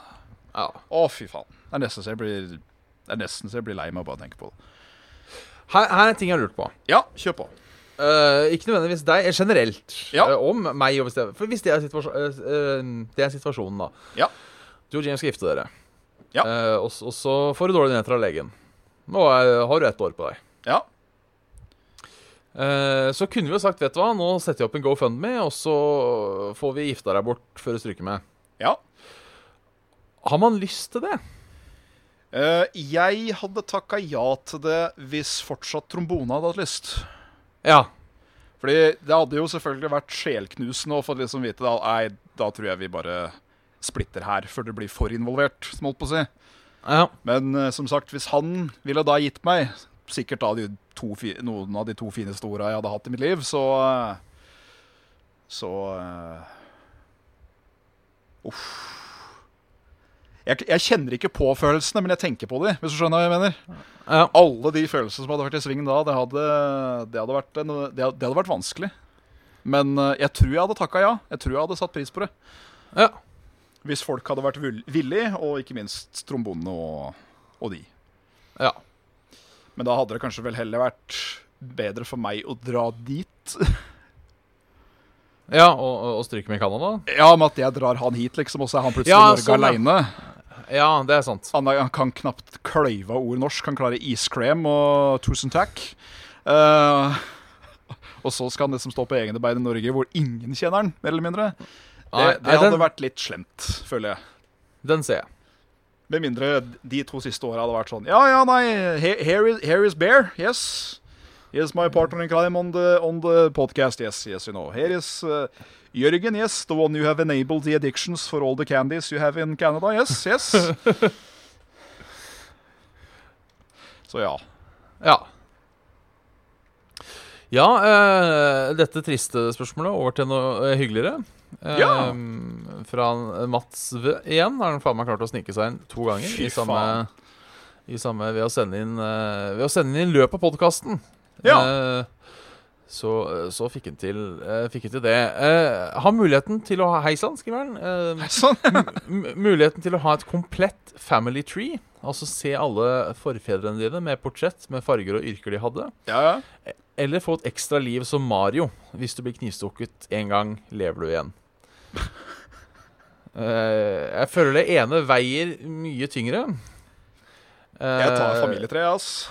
Speaker 2: ja.
Speaker 3: Å, fy faen. Det er nesten så jeg blir, det er nesten så jeg blir lei meg av bare å tenke på det.
Speaker 2: Her, her er en ting jeg har lurt på.
Speaker 3: Ja, kjør på.
Speaker 2: Eh, ikke nødvendigvis deg, eh, generelt.
Speaker 3: Ja.
Speaker 2: Eh, om meg og hvis det For hvis det er, situasjon, eh, eh, det er situasjonen, da.
Speaker 3: Ja.
Speaker 2: Du og James skal gifte dere.
Speaker 3: Ja.
Speaker 2: Eh, og, s- og så får du dårlige nyheter av legen. Nå er, har du ett år på deg.
Speaker 3: Ja.
Speaker 2: Eh, så kunne vi jo sagt, vet du hva, nå setter vi opp en GoFundMe, og så får vi gifta deg bort før du stryker med.
Speaker 3: ja.
Speaker 2: Har man lyst til det?
Speaker 3: Eh, jeg hadde takka ja til det hvis fortsatt trombone hadde hatt lyst.
Speaker 2: Ja.
Speaker 3: Fordi det hadde jo selvfølgelig vært sjelknusende å få liksom vite da, Nei, da tror jeg vi bare splitter her før det blir for involvert, som holdt på å si.
Speaker 2: Ja.
Speaker 3: Men eh, som sagt, hvis han ville da gitt meg sikkert da de to, fi- noen av de to fineste orda jeg hadde hatt i mitt liv, så eh, Så eh, Uff. Jeg, jeg kjenner ikke på følelsene, men jeg tenker på de, hvis du skjønner hva jeg mener.
Speaker 2: ja.
Speaker 3: Alle de følelsene som hadde vært i sving da, det hadde, det hadde, vært, en, det hadde, det hadde vært vanskelig. Men eh, jeg tror jeg hadde takka ja. Jeg tror jeg hadde satt pris på det.
Speaker 2: ja.
Speaker 3: Hvis folk hadde vært vil- villige, og ikke minst trombonene og, og de.
Speaker 2: ja.
Speaker 3: Men da hadde det kanskje vel heller vært bedre for meg å dra dit.
Speaker 2: Ja, og, og- og stryke med i Canada?
Speaker 3: Ja, med at jeg drar han hit, liksom, og så er han plutselig i
Speaker 2: Ja,
Speaker 3: Norge
Speaker 2: sånn, ja.
Speaker 3: aleine.
Speaker 2: Ja, det er sant.
Speaker 3: Han, er- han kan knapt kløyve ord norsk. Han klarer iskrem og tusen takk. Eh, og så skal han liksom stå på egne bein i Norge, hvor ingen kjenner han, mer eller mindre.
Speaker 2: Nei,
Speaker 3: Det,
Speaker 2: nei,
Speaker 3: det hadde
Speaker 2: den,
Speaker 3: vært litt slemt, føler jeg.
Speaker 2: den ser jeg.
Speaker 3: Med mindre de to siste åra hadde vært sånn Ja, ja, nei, he- here is, here is Bear. Yes. Yes, my partner in crime on the, on the podcast. Yes, yes, you know. Here is uh, Jørgen. Yes, the one you have enabled the addictions for all the candies you have in Canada. Yes, yes. Så ja.
Speaker 2: Ja. Ja, eh, dette triste spørsmålet over til noe eh, hyggeligere. Eh,
Speaker 3: Ja.
Speaker 2: Fra Mats V igjen. Har han faen meg klart å snike seg inn to ganger
Speaker 3: Fy
Speaker 2: i samme,
Speaker 3: faen.
Speaker 2: i samme ved, å sende inn, eh, ved å sende inn løpet av podkasten. Eh, så, så fikk han til, eh, fikk han til det. Eh, har muligheten til å ha Hei sann, skriver han. Eh,
Speaker 3: Sånn.
Speaker 2: m- muligheten til å ha et komplett family tree. Altså se alle forfedrene dine med portrett med farger og yrker de hadde.
Speaker 3: Ja, ja.
Speaker 2: Eller få et ekstra liv som Mario. Hvis du blir knivstukket én gang, lever du igjen. Eh, jeg føler det ene veier mye tyngre. Eh,
Speaker 3: Jeg tar familietre, jeg, ass.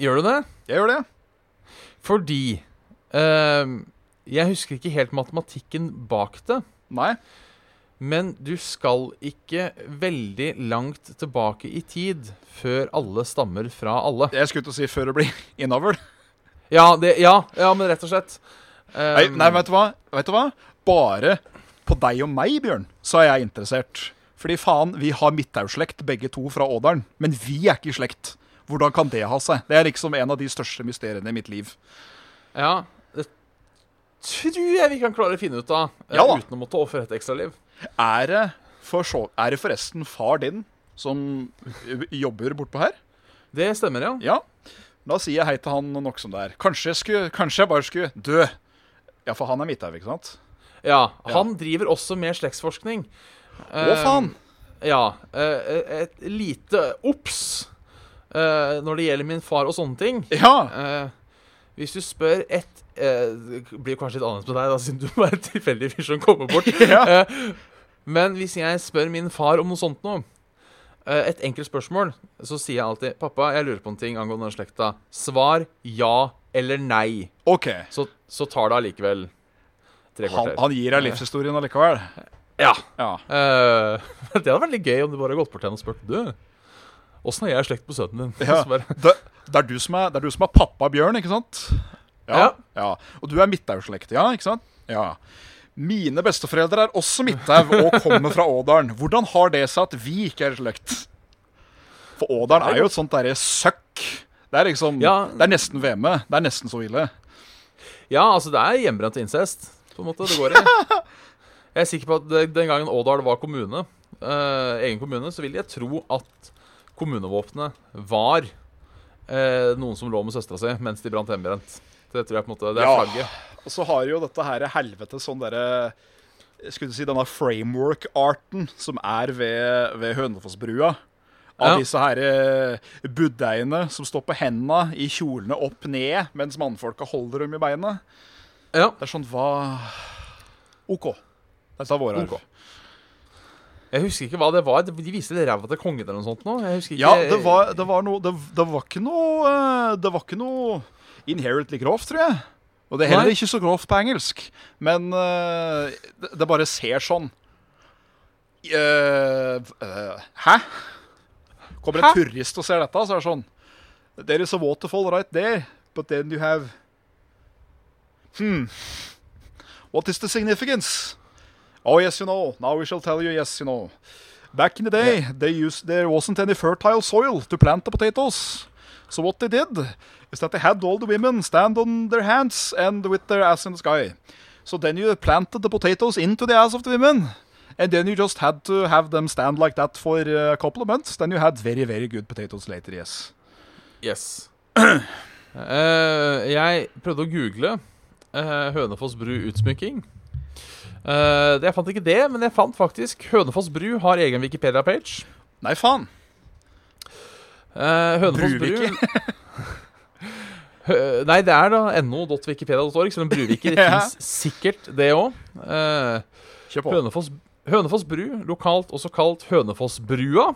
Speaker 2: Gjør du det?
Speaker 3: Jeg gjør det.
Speaker 2: Fordi eh, Jeg husker ikke helt matematikken bak det.
Speaker 3: Nei.
Speaker 2: Men du skal ikke veldig langt tilbake i tid før alle stammer fra alle.
Speaker 3: Jeg skulle til å si før det blir innavl.
Speaker 2: Ja, det, ja, ja men rett og slett.
Speaker 3: Nei,
Speaker 2: Um,
Speaker 3: nei vet, du hva? vet du hva? Bare på deg og meg, Bjørn, så er jeg interessert. Fordi faen, vi har Midthaug-slekt, begge to fra Ådalen. Men vi er ikke i slekt. Hvordan kan det ha seg? Det er liksom en av de største mysteriene i mitt liv.
Speaker 2: Ja, det tror jeg vi kan klare å finne ut av eh,
Speaker 3: Ja da.
Speaker 2: uten å måtte ofre et ekstra liv.
Speaker 3: Er det, for så, er det forresten far din som jobber bortpå her?
Speaker 2: Det stemmer, ja.
Speaker 3: Ja. Da sier jeg hei til han nok som det er. Kanskje jeg, skulle, kanskje jeg bare skulle dø. Ja, for han er Midthaug, ikke sant?
Speaker 2: ja. Han driver også med slektsforskning. Ehm,
Speaker 3: Å, faen!
Speaker 2: Ja. eh, et lite obs eh, når det gjelder min far og sånne ting.
Speaker 3: Ja!
Speaker 2: Eh, hvis du spør ett eh, Det blir kanskje litt annerledes med deg, da, siden du bare er en tilfeldig fyr som kommer bort.
Speaker 3: Ja.
Speaker 2: Eh, men hvis jeg spør min far om noe sånt nå, eh, et enkelt spørsmål, så sier jeg alltid 'Pappa, jeg lurer på en ting angående den slekta'. Svar ja eller nei.
Speaker 3: OK.
Speaker 2: Så, så tar det allikevel tre
Speaker 3: Han,
Speaker 2: kvarter.
Speaker 3: han gir deg livshistorien allikevel.
Speaker 2: Ja.
Speaker 3: Ja.
Speaker 2: Eh, det hadde vært litt gøy om du bare hadde gått bort til henne og spurt 'Du, åssen er jeg i slekt med sønnen din?'
Speaker 3: Ja.
Speaker 2: Og så bare,
Speaker 3: det, det, er du som er, det er du som er pappa Bjørn, ikke sant?
Speaker 2: Ja.
Speaker 3: ja. Og du er Midthaug-slekt, ja? Ikke sant? Ja. Mine besteforeldre er også Midthaug og kommer fra Ådalen. Hvordan har det seg at vi ikke er i slekt? For Ådalen er jo et sånt derre søkk. Det er liksom
Speaker 2: Ja.
Speaker 3: Det er nesten VM. Det er nesten så ille.
Speaker 2: Ja, altså det er hjemmebrent og incest, på en måte. Det går i. Jeg er sikker på at det- den gangen Ådal var kommune, eh, egen kommune, så vil jeg tro at kommunevåpenet var eh, noen som lå med søstera si mens de brant hjemmebrent. Det tror jeg på en måte, det er
Speaker 3: Ja.
Speaker 2: flagget.
Speaker 3: Og så har jo dette her helvete sånn derre jeg Skulle si denne framework-arten som er ved, ved Hønefossbrua. Av
Speaker 2: Ja.
Speaker 3: disse her eh, budeiene som står på henda i kjolene opp ned, mens mannfolka holder dem i beina.
Speaker 2: Ja.
Speaker 3: Det er sånn hva OK. Dette er vår arv.
Speaker 2: Ok. Jeg husker ikke hva det var. De viste litt ræva til kongen eller noe sånt nå. Jeg husker ikke.
Speaker 3: Ja, det var, det var noe det, det var ikke noe eh, Det var ikke noe inherently grovt, tror jeg. Og det er heller
Speaker 2: Nei.
Speaker 3: ikke så grovt på engelsk, men eh, det, det bare ser sånn. Eh, eh, hæ? Kommer
Speaker 2: Hæ?
Speaker 3: en turist og ser dette, så er det sånn There is a waterfall right there, but then you have Hmm. What is the significance? Oh, yes, you know. Now we shall tell you, yes, you know. Back in the day, they used, there wasn't any fertile soil to plant the potatoes. So what they did is that they had all the women stand on their hands and with their ass in the sky. So then you planted the potatoes into the ass of the women. And then you just had to have them stand like that for uh, a couple of months. Then you had very, very good potatoes later, yes.
Speaker 2: Yes. Eh, jeg prøvde å google eh, Hønefoss bru utsmykking. Eh, jeg fant ikke det, men jeg fant faktisk Hønefoss bru har egen Wikipedia-page.
Speaker 3: Nei, faen.
Speaker 2: Eh, Hønefoss bru Hø- Nei, det er da no.wikipedia.org, så den Bruvike
Speaker 3: Ja.
Speaker 2: finnes sikkert, det òg.
Speaker 3: Kjør på.
Speaker 2: Hønefoss, Hønefoss bru, lokalt også kalt Hønefossbrua,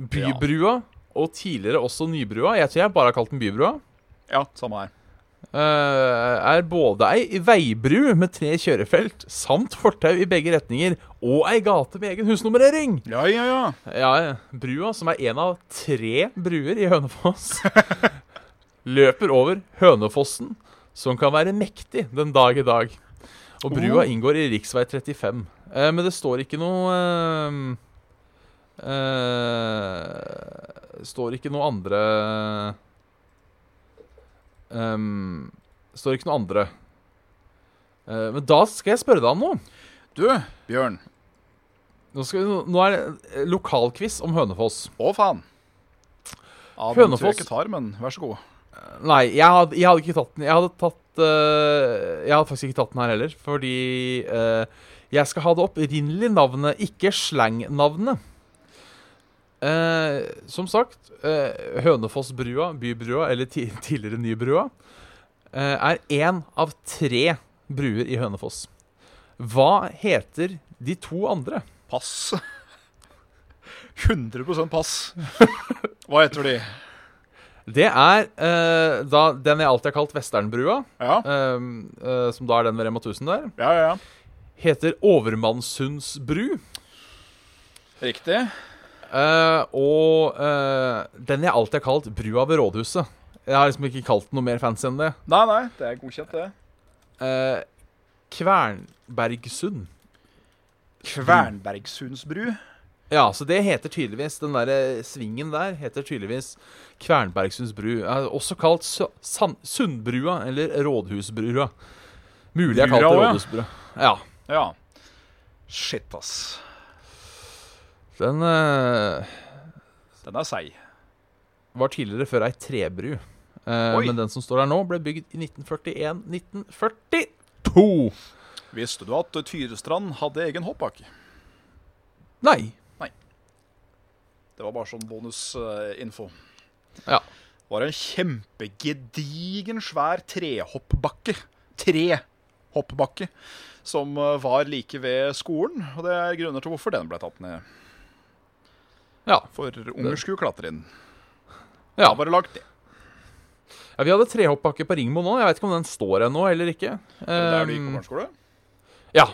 Speaker 2: Bybrua og tidligere også Nybrua. Jeg tror jeg bare har kalt den Bybrua.
Speaker 3: Ja, samme her.
Speaker 2: eh, er både ei veibru med tre kjørefelt samt fortau i begge retninger og ei gate med egen husnummerering.
Speaker 3: Ja, ja, ja.
Speaker 2: Ja, ja. brua, som er en av tre bruer i Hønefoss, løper over Hønefossen, som kan være mektig den dag i dag. Og brua
Speaker 3: Oh.
Speaker 2: inngår i rv. 35. Eh, men det står ikke noe eh, eh, Står ikke noe andre ehm, Står ikke noe andre. Eh, men da skal jeg spørre deg om noe.
Speaker 3: Du, Bjørn.
Speaker 2: Nå, skal vi, nå er det eh, lokalquiz om Hønefoss.
Speaker 3: Å, faen. Ja, den tror
Speaker 2: Hønefoss.
Speaker 3: jeg ikke tar, men vær så god.
Speaker 2: Nei, jeg hadde, jeg hadde ikke tatt den. Jeg hadde, tatt, eh, jeg hadde faktisk ikke tatt den her heller, fordi eh, jeg skal ha det opprinnelige navnet, ikke slangnavnet. Eh, som sagt, eh, Hønefossbrua, Bybrua eller ti tidligere Nybrua eh, er én av tre bruer i Hønefoss. Hva heter de to andre?
Speaker 3: Pass. 100 pass. Hva heter de?
Speaker 2: Det er eh, da den jeg alltid har kalt Vesternbrua,
Speaker 3: Ja,
Speaker 2: eh, eh, som da er den ved Rema 1000 der.
Speaker 3: ja, ja. ja.
Speaker 2: heter Overmannssundsbru.
Speaker 3: Riktig.
Speaker 2: eh, og eh, den jeg alltid har kalt brua ved rådhuset. Jeg har liksom ikke kalt den noe mer fancy enn det.
Speaker 3: Nei, nei, det er godkjent, det.
Speaker 2: Eh, Kvernbergsund.
Speaker 3: Kvernbergsundsbru.
Speaker 2: Ja, så det heter tydeligvis Den derre svingen der heter tydeligvis Kvernbergsundsbru. Eh, også kalt Su- San- Sundbrua eller Rådhusbrua. Mulig jeg kalte
Speaker 3: Brua også,
Speaker 2: det
Speaker 3: ja.
Speaker 2: Rådhusbrua. Ja.
Speaker 3: Ja. Shit, ass.
Speaker 2: Den eh,
Speaker 3: Den er seig.
Speaker 2: var tidligere før ei trebru. Eh,
Speaker 3: Oi.
Speaker 2: men den som står her nå, ble bygd i 1941-1942.
Speaker 3: Visste du at Tyrestrand hadde egen hoppbakke?
Speaker 2: Nei.
Speaker 3: Det var bare sånn bonusinfo.
Speaker 2: Ja.
Speaker 3: Det var en kjempegedigen, svær trehoppbakke. Trehoppbakke. Som eh, var like ved skolen, og det er grunner til hvorfor den ble tatt ned.
Speaker 2: Ja.
Speaker 3: For unger skulle klatre inn.
Speaker 2: ja.
Speaker 3: Da var det lagt ned.
Speaker 2: ja vi hadde trehoppbakke på Ringmo nå. Jeg vet ikke om den står ennå eller ikke.
Speaker 3: Det var Der du gikk på
Speaker 2: Eh,
Speaker 3: barneskole?
Speaker 2: ja.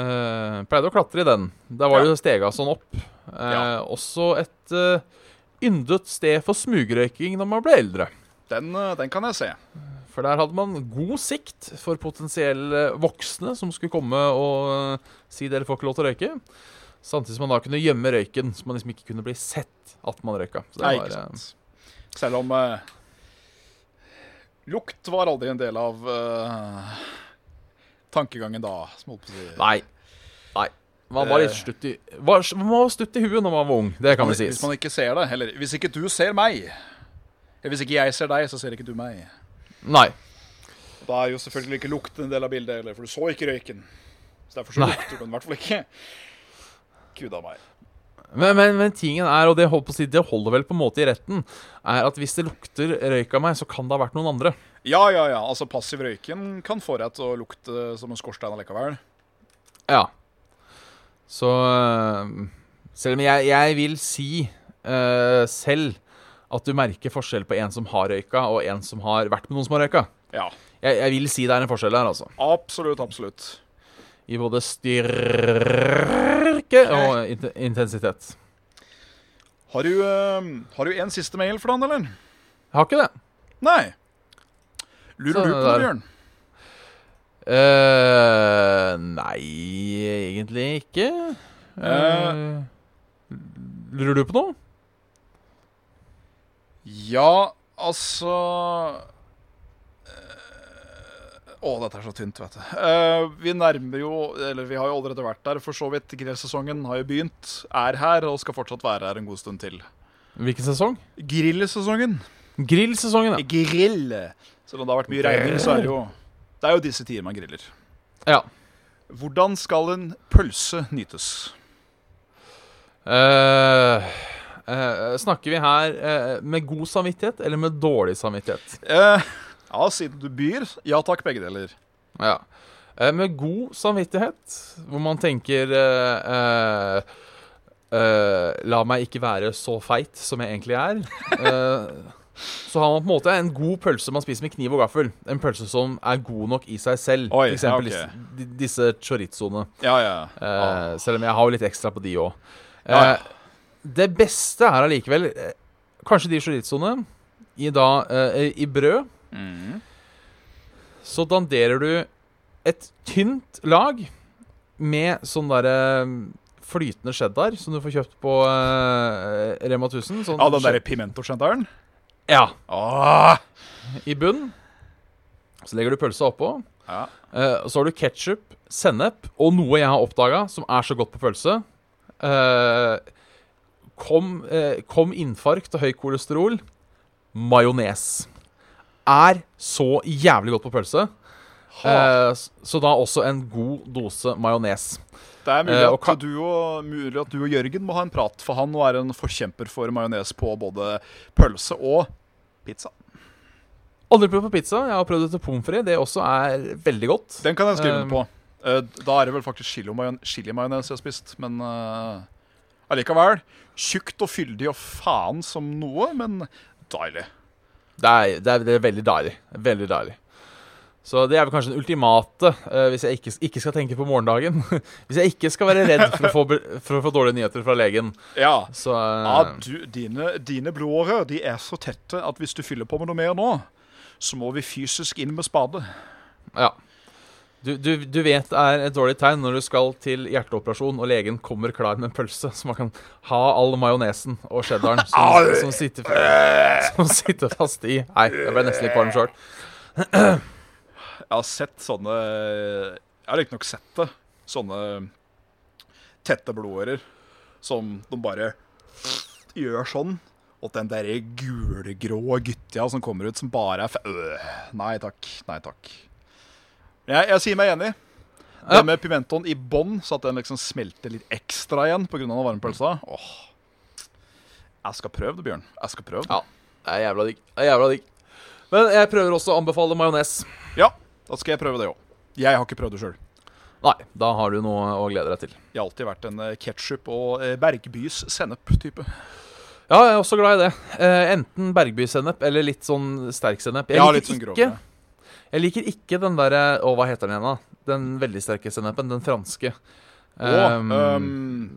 Speaker 2: Eh, pleide å klatre i den. Der var
Speaker 3: Ja.
Speaker 2: det jo stega sånn opp. Eh,
Speaker 3: Ja.
Speaker 2: Også et eh, yndet sted for smugrøyking når man ble eldre.
Speaker 3: Den, eh, den kan jeg se.
Speaker 2: For der hadde man god sikt for potensielle voksne som skulle komme og eh, si dere får ikke lov til å røyke. Samtidig som man da kunne gjemme røyken, så man liksom ikke kunne bli sett at man røyka. Så det
Speaker 3: Nei,
Speaker 2: var,
Speaker 3: ikke
Speaker 2: eh,
Speaker 3: sant. Selv om eh, lukt var aldri en del av eh, tankegangen da. som holdt på å si.
Speaker 2: Nei. Nei. Man var litt stutt i var, Man var stutt i huet når man var ung. Det kan vel sies.
Speaker 3: Eh. Hvis man ikke ser det, eller hvis ikke du ser meg Eller hvis ikke jeg ser deg, så ser ikke du meg.
Speaker 2: Nei.
Speaker 3: Da er jo selvfølgelig ikke lukten en del av bildet heller, for du så ikke røyken. Så derfor så
Speaker 2: Nei.
Speaker 3: lukter du den i hvert fall ikke. Gud a meg.
Speaker 2: Men, men, men tingen er, og det, holdt på å si, det holder vel på en måte i retten, er at hvis det lukter røyk av meg, så kan det ha vært noen andre.
Speaker 3: Ja, ja, ja. Altså, passiv røyken kan få deg til å lukte eh, som en skorstein allikevel.
Speaker 2: Ja. Så øh, Selv om jeg, jeg vil si øh, selv at du merker forskjell på en som har røyka, og en som har vært med noen som har røyka.
Speaker 3: Ja.
Speaker 2: Jeg, jeg vil si det er en forskjell her, altså.
Speaker 3: Absolutt, absolutt.
Speaker 2: I både styrke og int- intensitet.
Speaker 3: Har du, eh, har du en siste mail for han, eller?
Speaker 2: Jeg har ikke det.
Speaker 3: Nei. Lurer
Speaker 2: Så
Speaker 3: du på det,
Speaker 2: der.
Speaker 3: Bjørn?
Speaker 2: eh nei, egentlig ikke. Eh, lurer du på noe?
Speaker 3: Ja, altså Eh, Å, dette er så tynt, vet du. Eh, vi nærmer jo Eller vi har jo allerede vært der, for så vidt. Grillsesongen har jo begynt. Er her og skal fortsatt være her en god stund til.
Speaker 2: Hvilken sesong?
Speaker 3: Grillsesongen.
Speaker 2: Grillsesongen, ja.
Speaker 3: Grill. Selv om det har vært mye regning, så er det jo Det er jo disse tider man griller.
Speaker 2: ja.
Speaker 3: Hvordan skal en pølse nytes?
Speaker 2: Eh, eh, snakker vi her eh, med god samvittighet eller med dårlig samvittighet?
Speaker 3: Eh, ja, siden du byr. Ja takk, begge deler.
Speaker 2: Ja. Eh, med god samvittighet, hvor man tenker eh, eh, eh, La meg ikke være så feit som jeg egentlig er. Eh, så har man på en måte en god pølse man spiser med kniv og gaffel. En pølse som er god nok i seg selv.
Speaker 3: Oi,
Speaker 2: For eksempel
Speaker 3: ja, ok.
Speaker 2: dis- di- disse chorizoene.
Speaker 3: Ja, ja.
Speaker 2: Eh,
Speaker 3: Ah.
Speaker 2: Selv om jeg har jo litt ekstra på de òg.
Speaker 3: Ja, ja.
Speaker 2: Det beste er allikevel eh, kanskje de chorizoene i, da, eh, i brød
Speaker 3: Mm.
Speaker 2: så danderer du et tynt lag med sånn derre mm, flytende cheddar som du får kjøpt på eh, Rema 1000. Sånn
Speaker 3: Ja, Ah, den derre pimentosjenteren?
Speaker 2: Ja,
Speaker 3: Ah.
Speaker 2: i bunn. Så legger du pølsa oppå.
Speaker 3: Ja.
Speaker 2: eh, og så har du ketsjup, sennep og noe jeg har oppdaga som er så godt på pølse. Eh, kom, eh, kom infarkt og høy kolesterol. Majones. Er så jævlig godt på pølse.
Speaker 3: Ha.
Speaker 2: Eh, s- Så da også en god dose majones.
Speaker 3: Det er mulig
Speaker 2: eh,
Speaker 3: at,
Speaker 2: og ka-
Speaker 3: du og, mulig at du og Jørgen må ha en prat, for han nå er en forkjemper for majones på både pølse og pizza.
Speaker 2: Aldri prøvd på pizza. Jeg har prøvd det til pommes frites. Det også er veldig godt.
Speaker 3: Den kan jeg skrive
Speaker 2: Um.
Speaker 3: under på. Eh, Da er det vel faktisk chili- majon- chilimajones jeg har spist, men eh, allikevel. Tjukt og fyldig og faen som noe, men deilig.
Speaker 2: Det er, det er, det er veldig deilig. Veldig deilig. Så det er vel kanskje den ultimate, eh, hvis jeg ikke, ikke skal tenke på morgendagen. hvis jeg ikke skal være redd for å få, be- for å få dårlige nyheter fra legen.
Speaker 3: Ja.
Speaker 2: Så
Speaker 3: ja
Speaker 2: eh,
Speaker 3: du, dine, dine blodårer de er så tette at hvis du fyller på med noe mer nå, så må vi fysisk inn med spade.
Speaker 2: ja. Du, du, du vet det er et dårlig tegn når du skal til hjerteoperasjon og legen kommer klar med en pølse, så man kan ha all majonesen og cheddaren som, som, sitter,
Speaker 3: Eh,
Speaker 2: som sitter fast i Nei, jeg ble nesten litt varm sjøl.
Speaker 3: Jeg har sett sånne Jeg har riktignok sett det. Sånne tette blodårer som de bare gjør sånn. Og den derre gulegrå guttia som kommer ut, som bare er fe... Øh, nei takk. Nei takk. Men jeg, jeg sier meg enig.
Speaker 2: Ja.
Speaker 3: Det med pimentoen i bånn, så at den liksom smelter litt ekstra igjen pga. varmepølsa. Åh. Jeg skal prøve det, Bjørn. Jeg skal prøve det.
Speaker 2: Ja, det er jævla digg. Det er jævla digg. Men jeg prøver også å anbefale majones.
Speaker 3: Ja, da skal jeg prøve det òg. Jeg har ikke prøvd det sjøl.
Speaker 2: Nei, da har du noe å glede deg til.
Speaker 3: Jeg har alltid vært en ketsjup og eh, Bergbys sennep-type.
Speaker 2: Ja, jeg er også glad i det. Eh, enten bergbysennep eller litt sånn sterk sennep. Jeg,
Speaker 3: Ja, litt
Speaker 2: liker
Speaker 3: sånn
Speaker 2: ikke,
Speaker 3: grovere.
Speaker 2: jeg liker ikke den derre Å, hva heter den igjen, da? Den veldig sterke sennepen. Den franske.
Speaker 3: Og
Speaker 2: Ehm,
Speaker 3: ehm,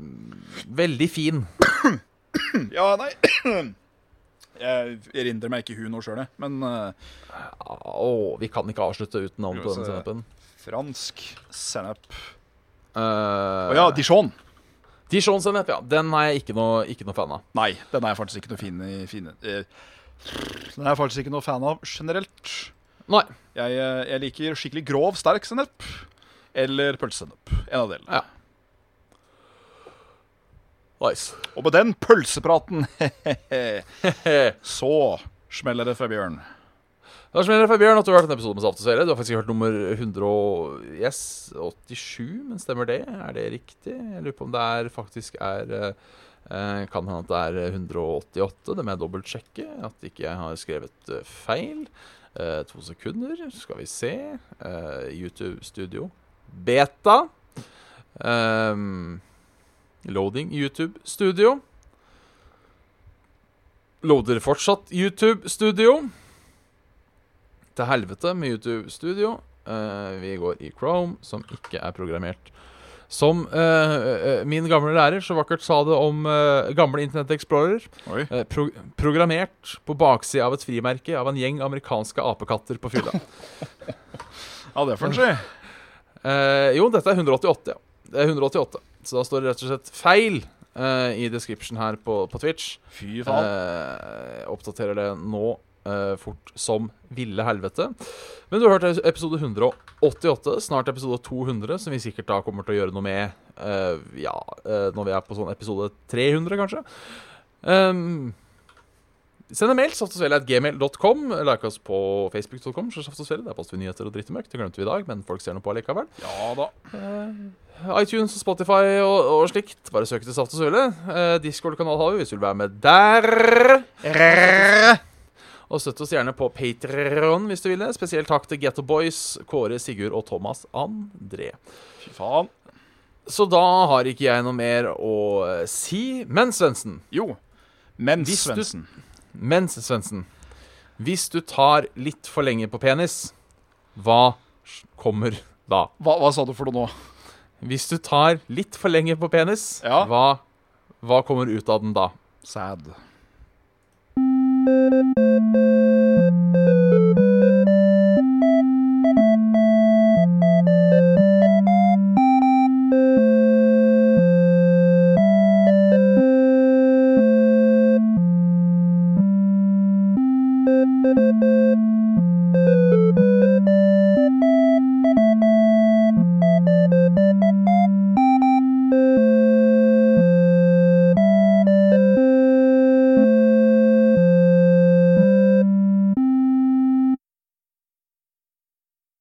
Speaker 2: Veldig fin.
Speaker 3: Ja, nei Jeg erindrer meg ikke hun nå sjøl, jeg. Men eh,
Speaker 2: Å, vi kan ikke avslutte uten navn på
Speaker 3: Jo,
Speaker 2: den
Speaker 3: så-
Speaker 2: sennepen.
Speaker 3: fransk sennep
Speaker 2: Uh,
Speaker 3: Å ja, dijon!
Speaker 2: Dijon-sennep, ja. Den er jeg ikke noe, ikke noe fan av.
Speaker 3: Nei, den er jeg faktisk ikke noe fin i fine. eh, Den er jeg faktisk ikke noe fan av generelt.
Speaker 2: Nei.
Speaker 3: Jeg, eh, jeg liker skikkelig grov, sterk sennep. eller pølsesennep. En av delene.
Speaker 2: Ja. Nice.
Speaker 3: Og med den pølsepraten så smeller det fra Bjørn.
Speaker 2: Da smeller det for Bjørn at du har hørt en episode med Saft og Svele. Du har faktisk hørt nummer 187, yes, 87, men stemmer det? Er det riktig? Jeg lurer på om det er faktisk er eh, eh, Kan hende at det er 188. Det må jeg dobbeltsjekke. At ikke jeg har skrevet eh, feil. Eh, to sekunder, skal vi se. Eh, YouTube Studio Beta. Ehm, loading YouTube Studio. Loader fortsatt YouTube Studio til helvete med YouTube Studio. Eh, vi går i Chrome, som ikke er programmert. Som eh, eh, min gamle lærer så vakkert sa det om eh, gamle Internett Explorer.
Speaker 3: Oi.
Speaker 2: Eh, pro programmert på baksida av et frimerke av en gjeng amerikanske apekatter på fylla.
Speaker 3: Ja, det får en si.
Speaker 2: Eh, jo, dette er 188, ja. Det er 188. Så da står det rett og slett feil eh, i description her på, på Twitch.
Speaker 3: Fy faen.
Speaker 2: Eh, oppdaterer det nå eh, fort som ville helvete. Men du har hørt episode 188, snart episode 200, som vi sikkert da kommer til å gjøre noe med eh, Ja, eh, når vi er på sånn episode 300, kanskje. Um, Send en mail, saftosvele.gmail.com. Like oss på facebook.com. så saftosvele. Der poster vi nyheter og drittemøkk. Det glemte vi i dag, men folk ser nå på likevel.
Speaker 3: Ja da.
Speaker 2: Eh, iTunes og Spotify og, og slikt. Bare søk til Saft og Svele. Eh, Discord-kanal har vi hvis du vil være med der. Og støtt oss gjerne på Patreon hvis du vil det. Spesielt takk til Getto Boys, Kåre, Sigurd og Thomas André.
Speaker 3: Fy faen.
Speaker 2: Så da har ikke jeg noe mer å eh, si. Men Svendsen,
Speaker 3: Jo. Men
Speaker 2: Hvis du-
Speaker 3: Svendsen
Speaker 2: mens Svendsen Hvis du tar litt for lenge på penis, hva kommer da?
Speaker 3: hva, hva sa du for noe nå?
Speaker 2: Hvis du tar litt for lenge på penis,
Speaker 3: Ja.
Speaker 2: hva, hva kommer ut av den da?
Speaker 3: Sad.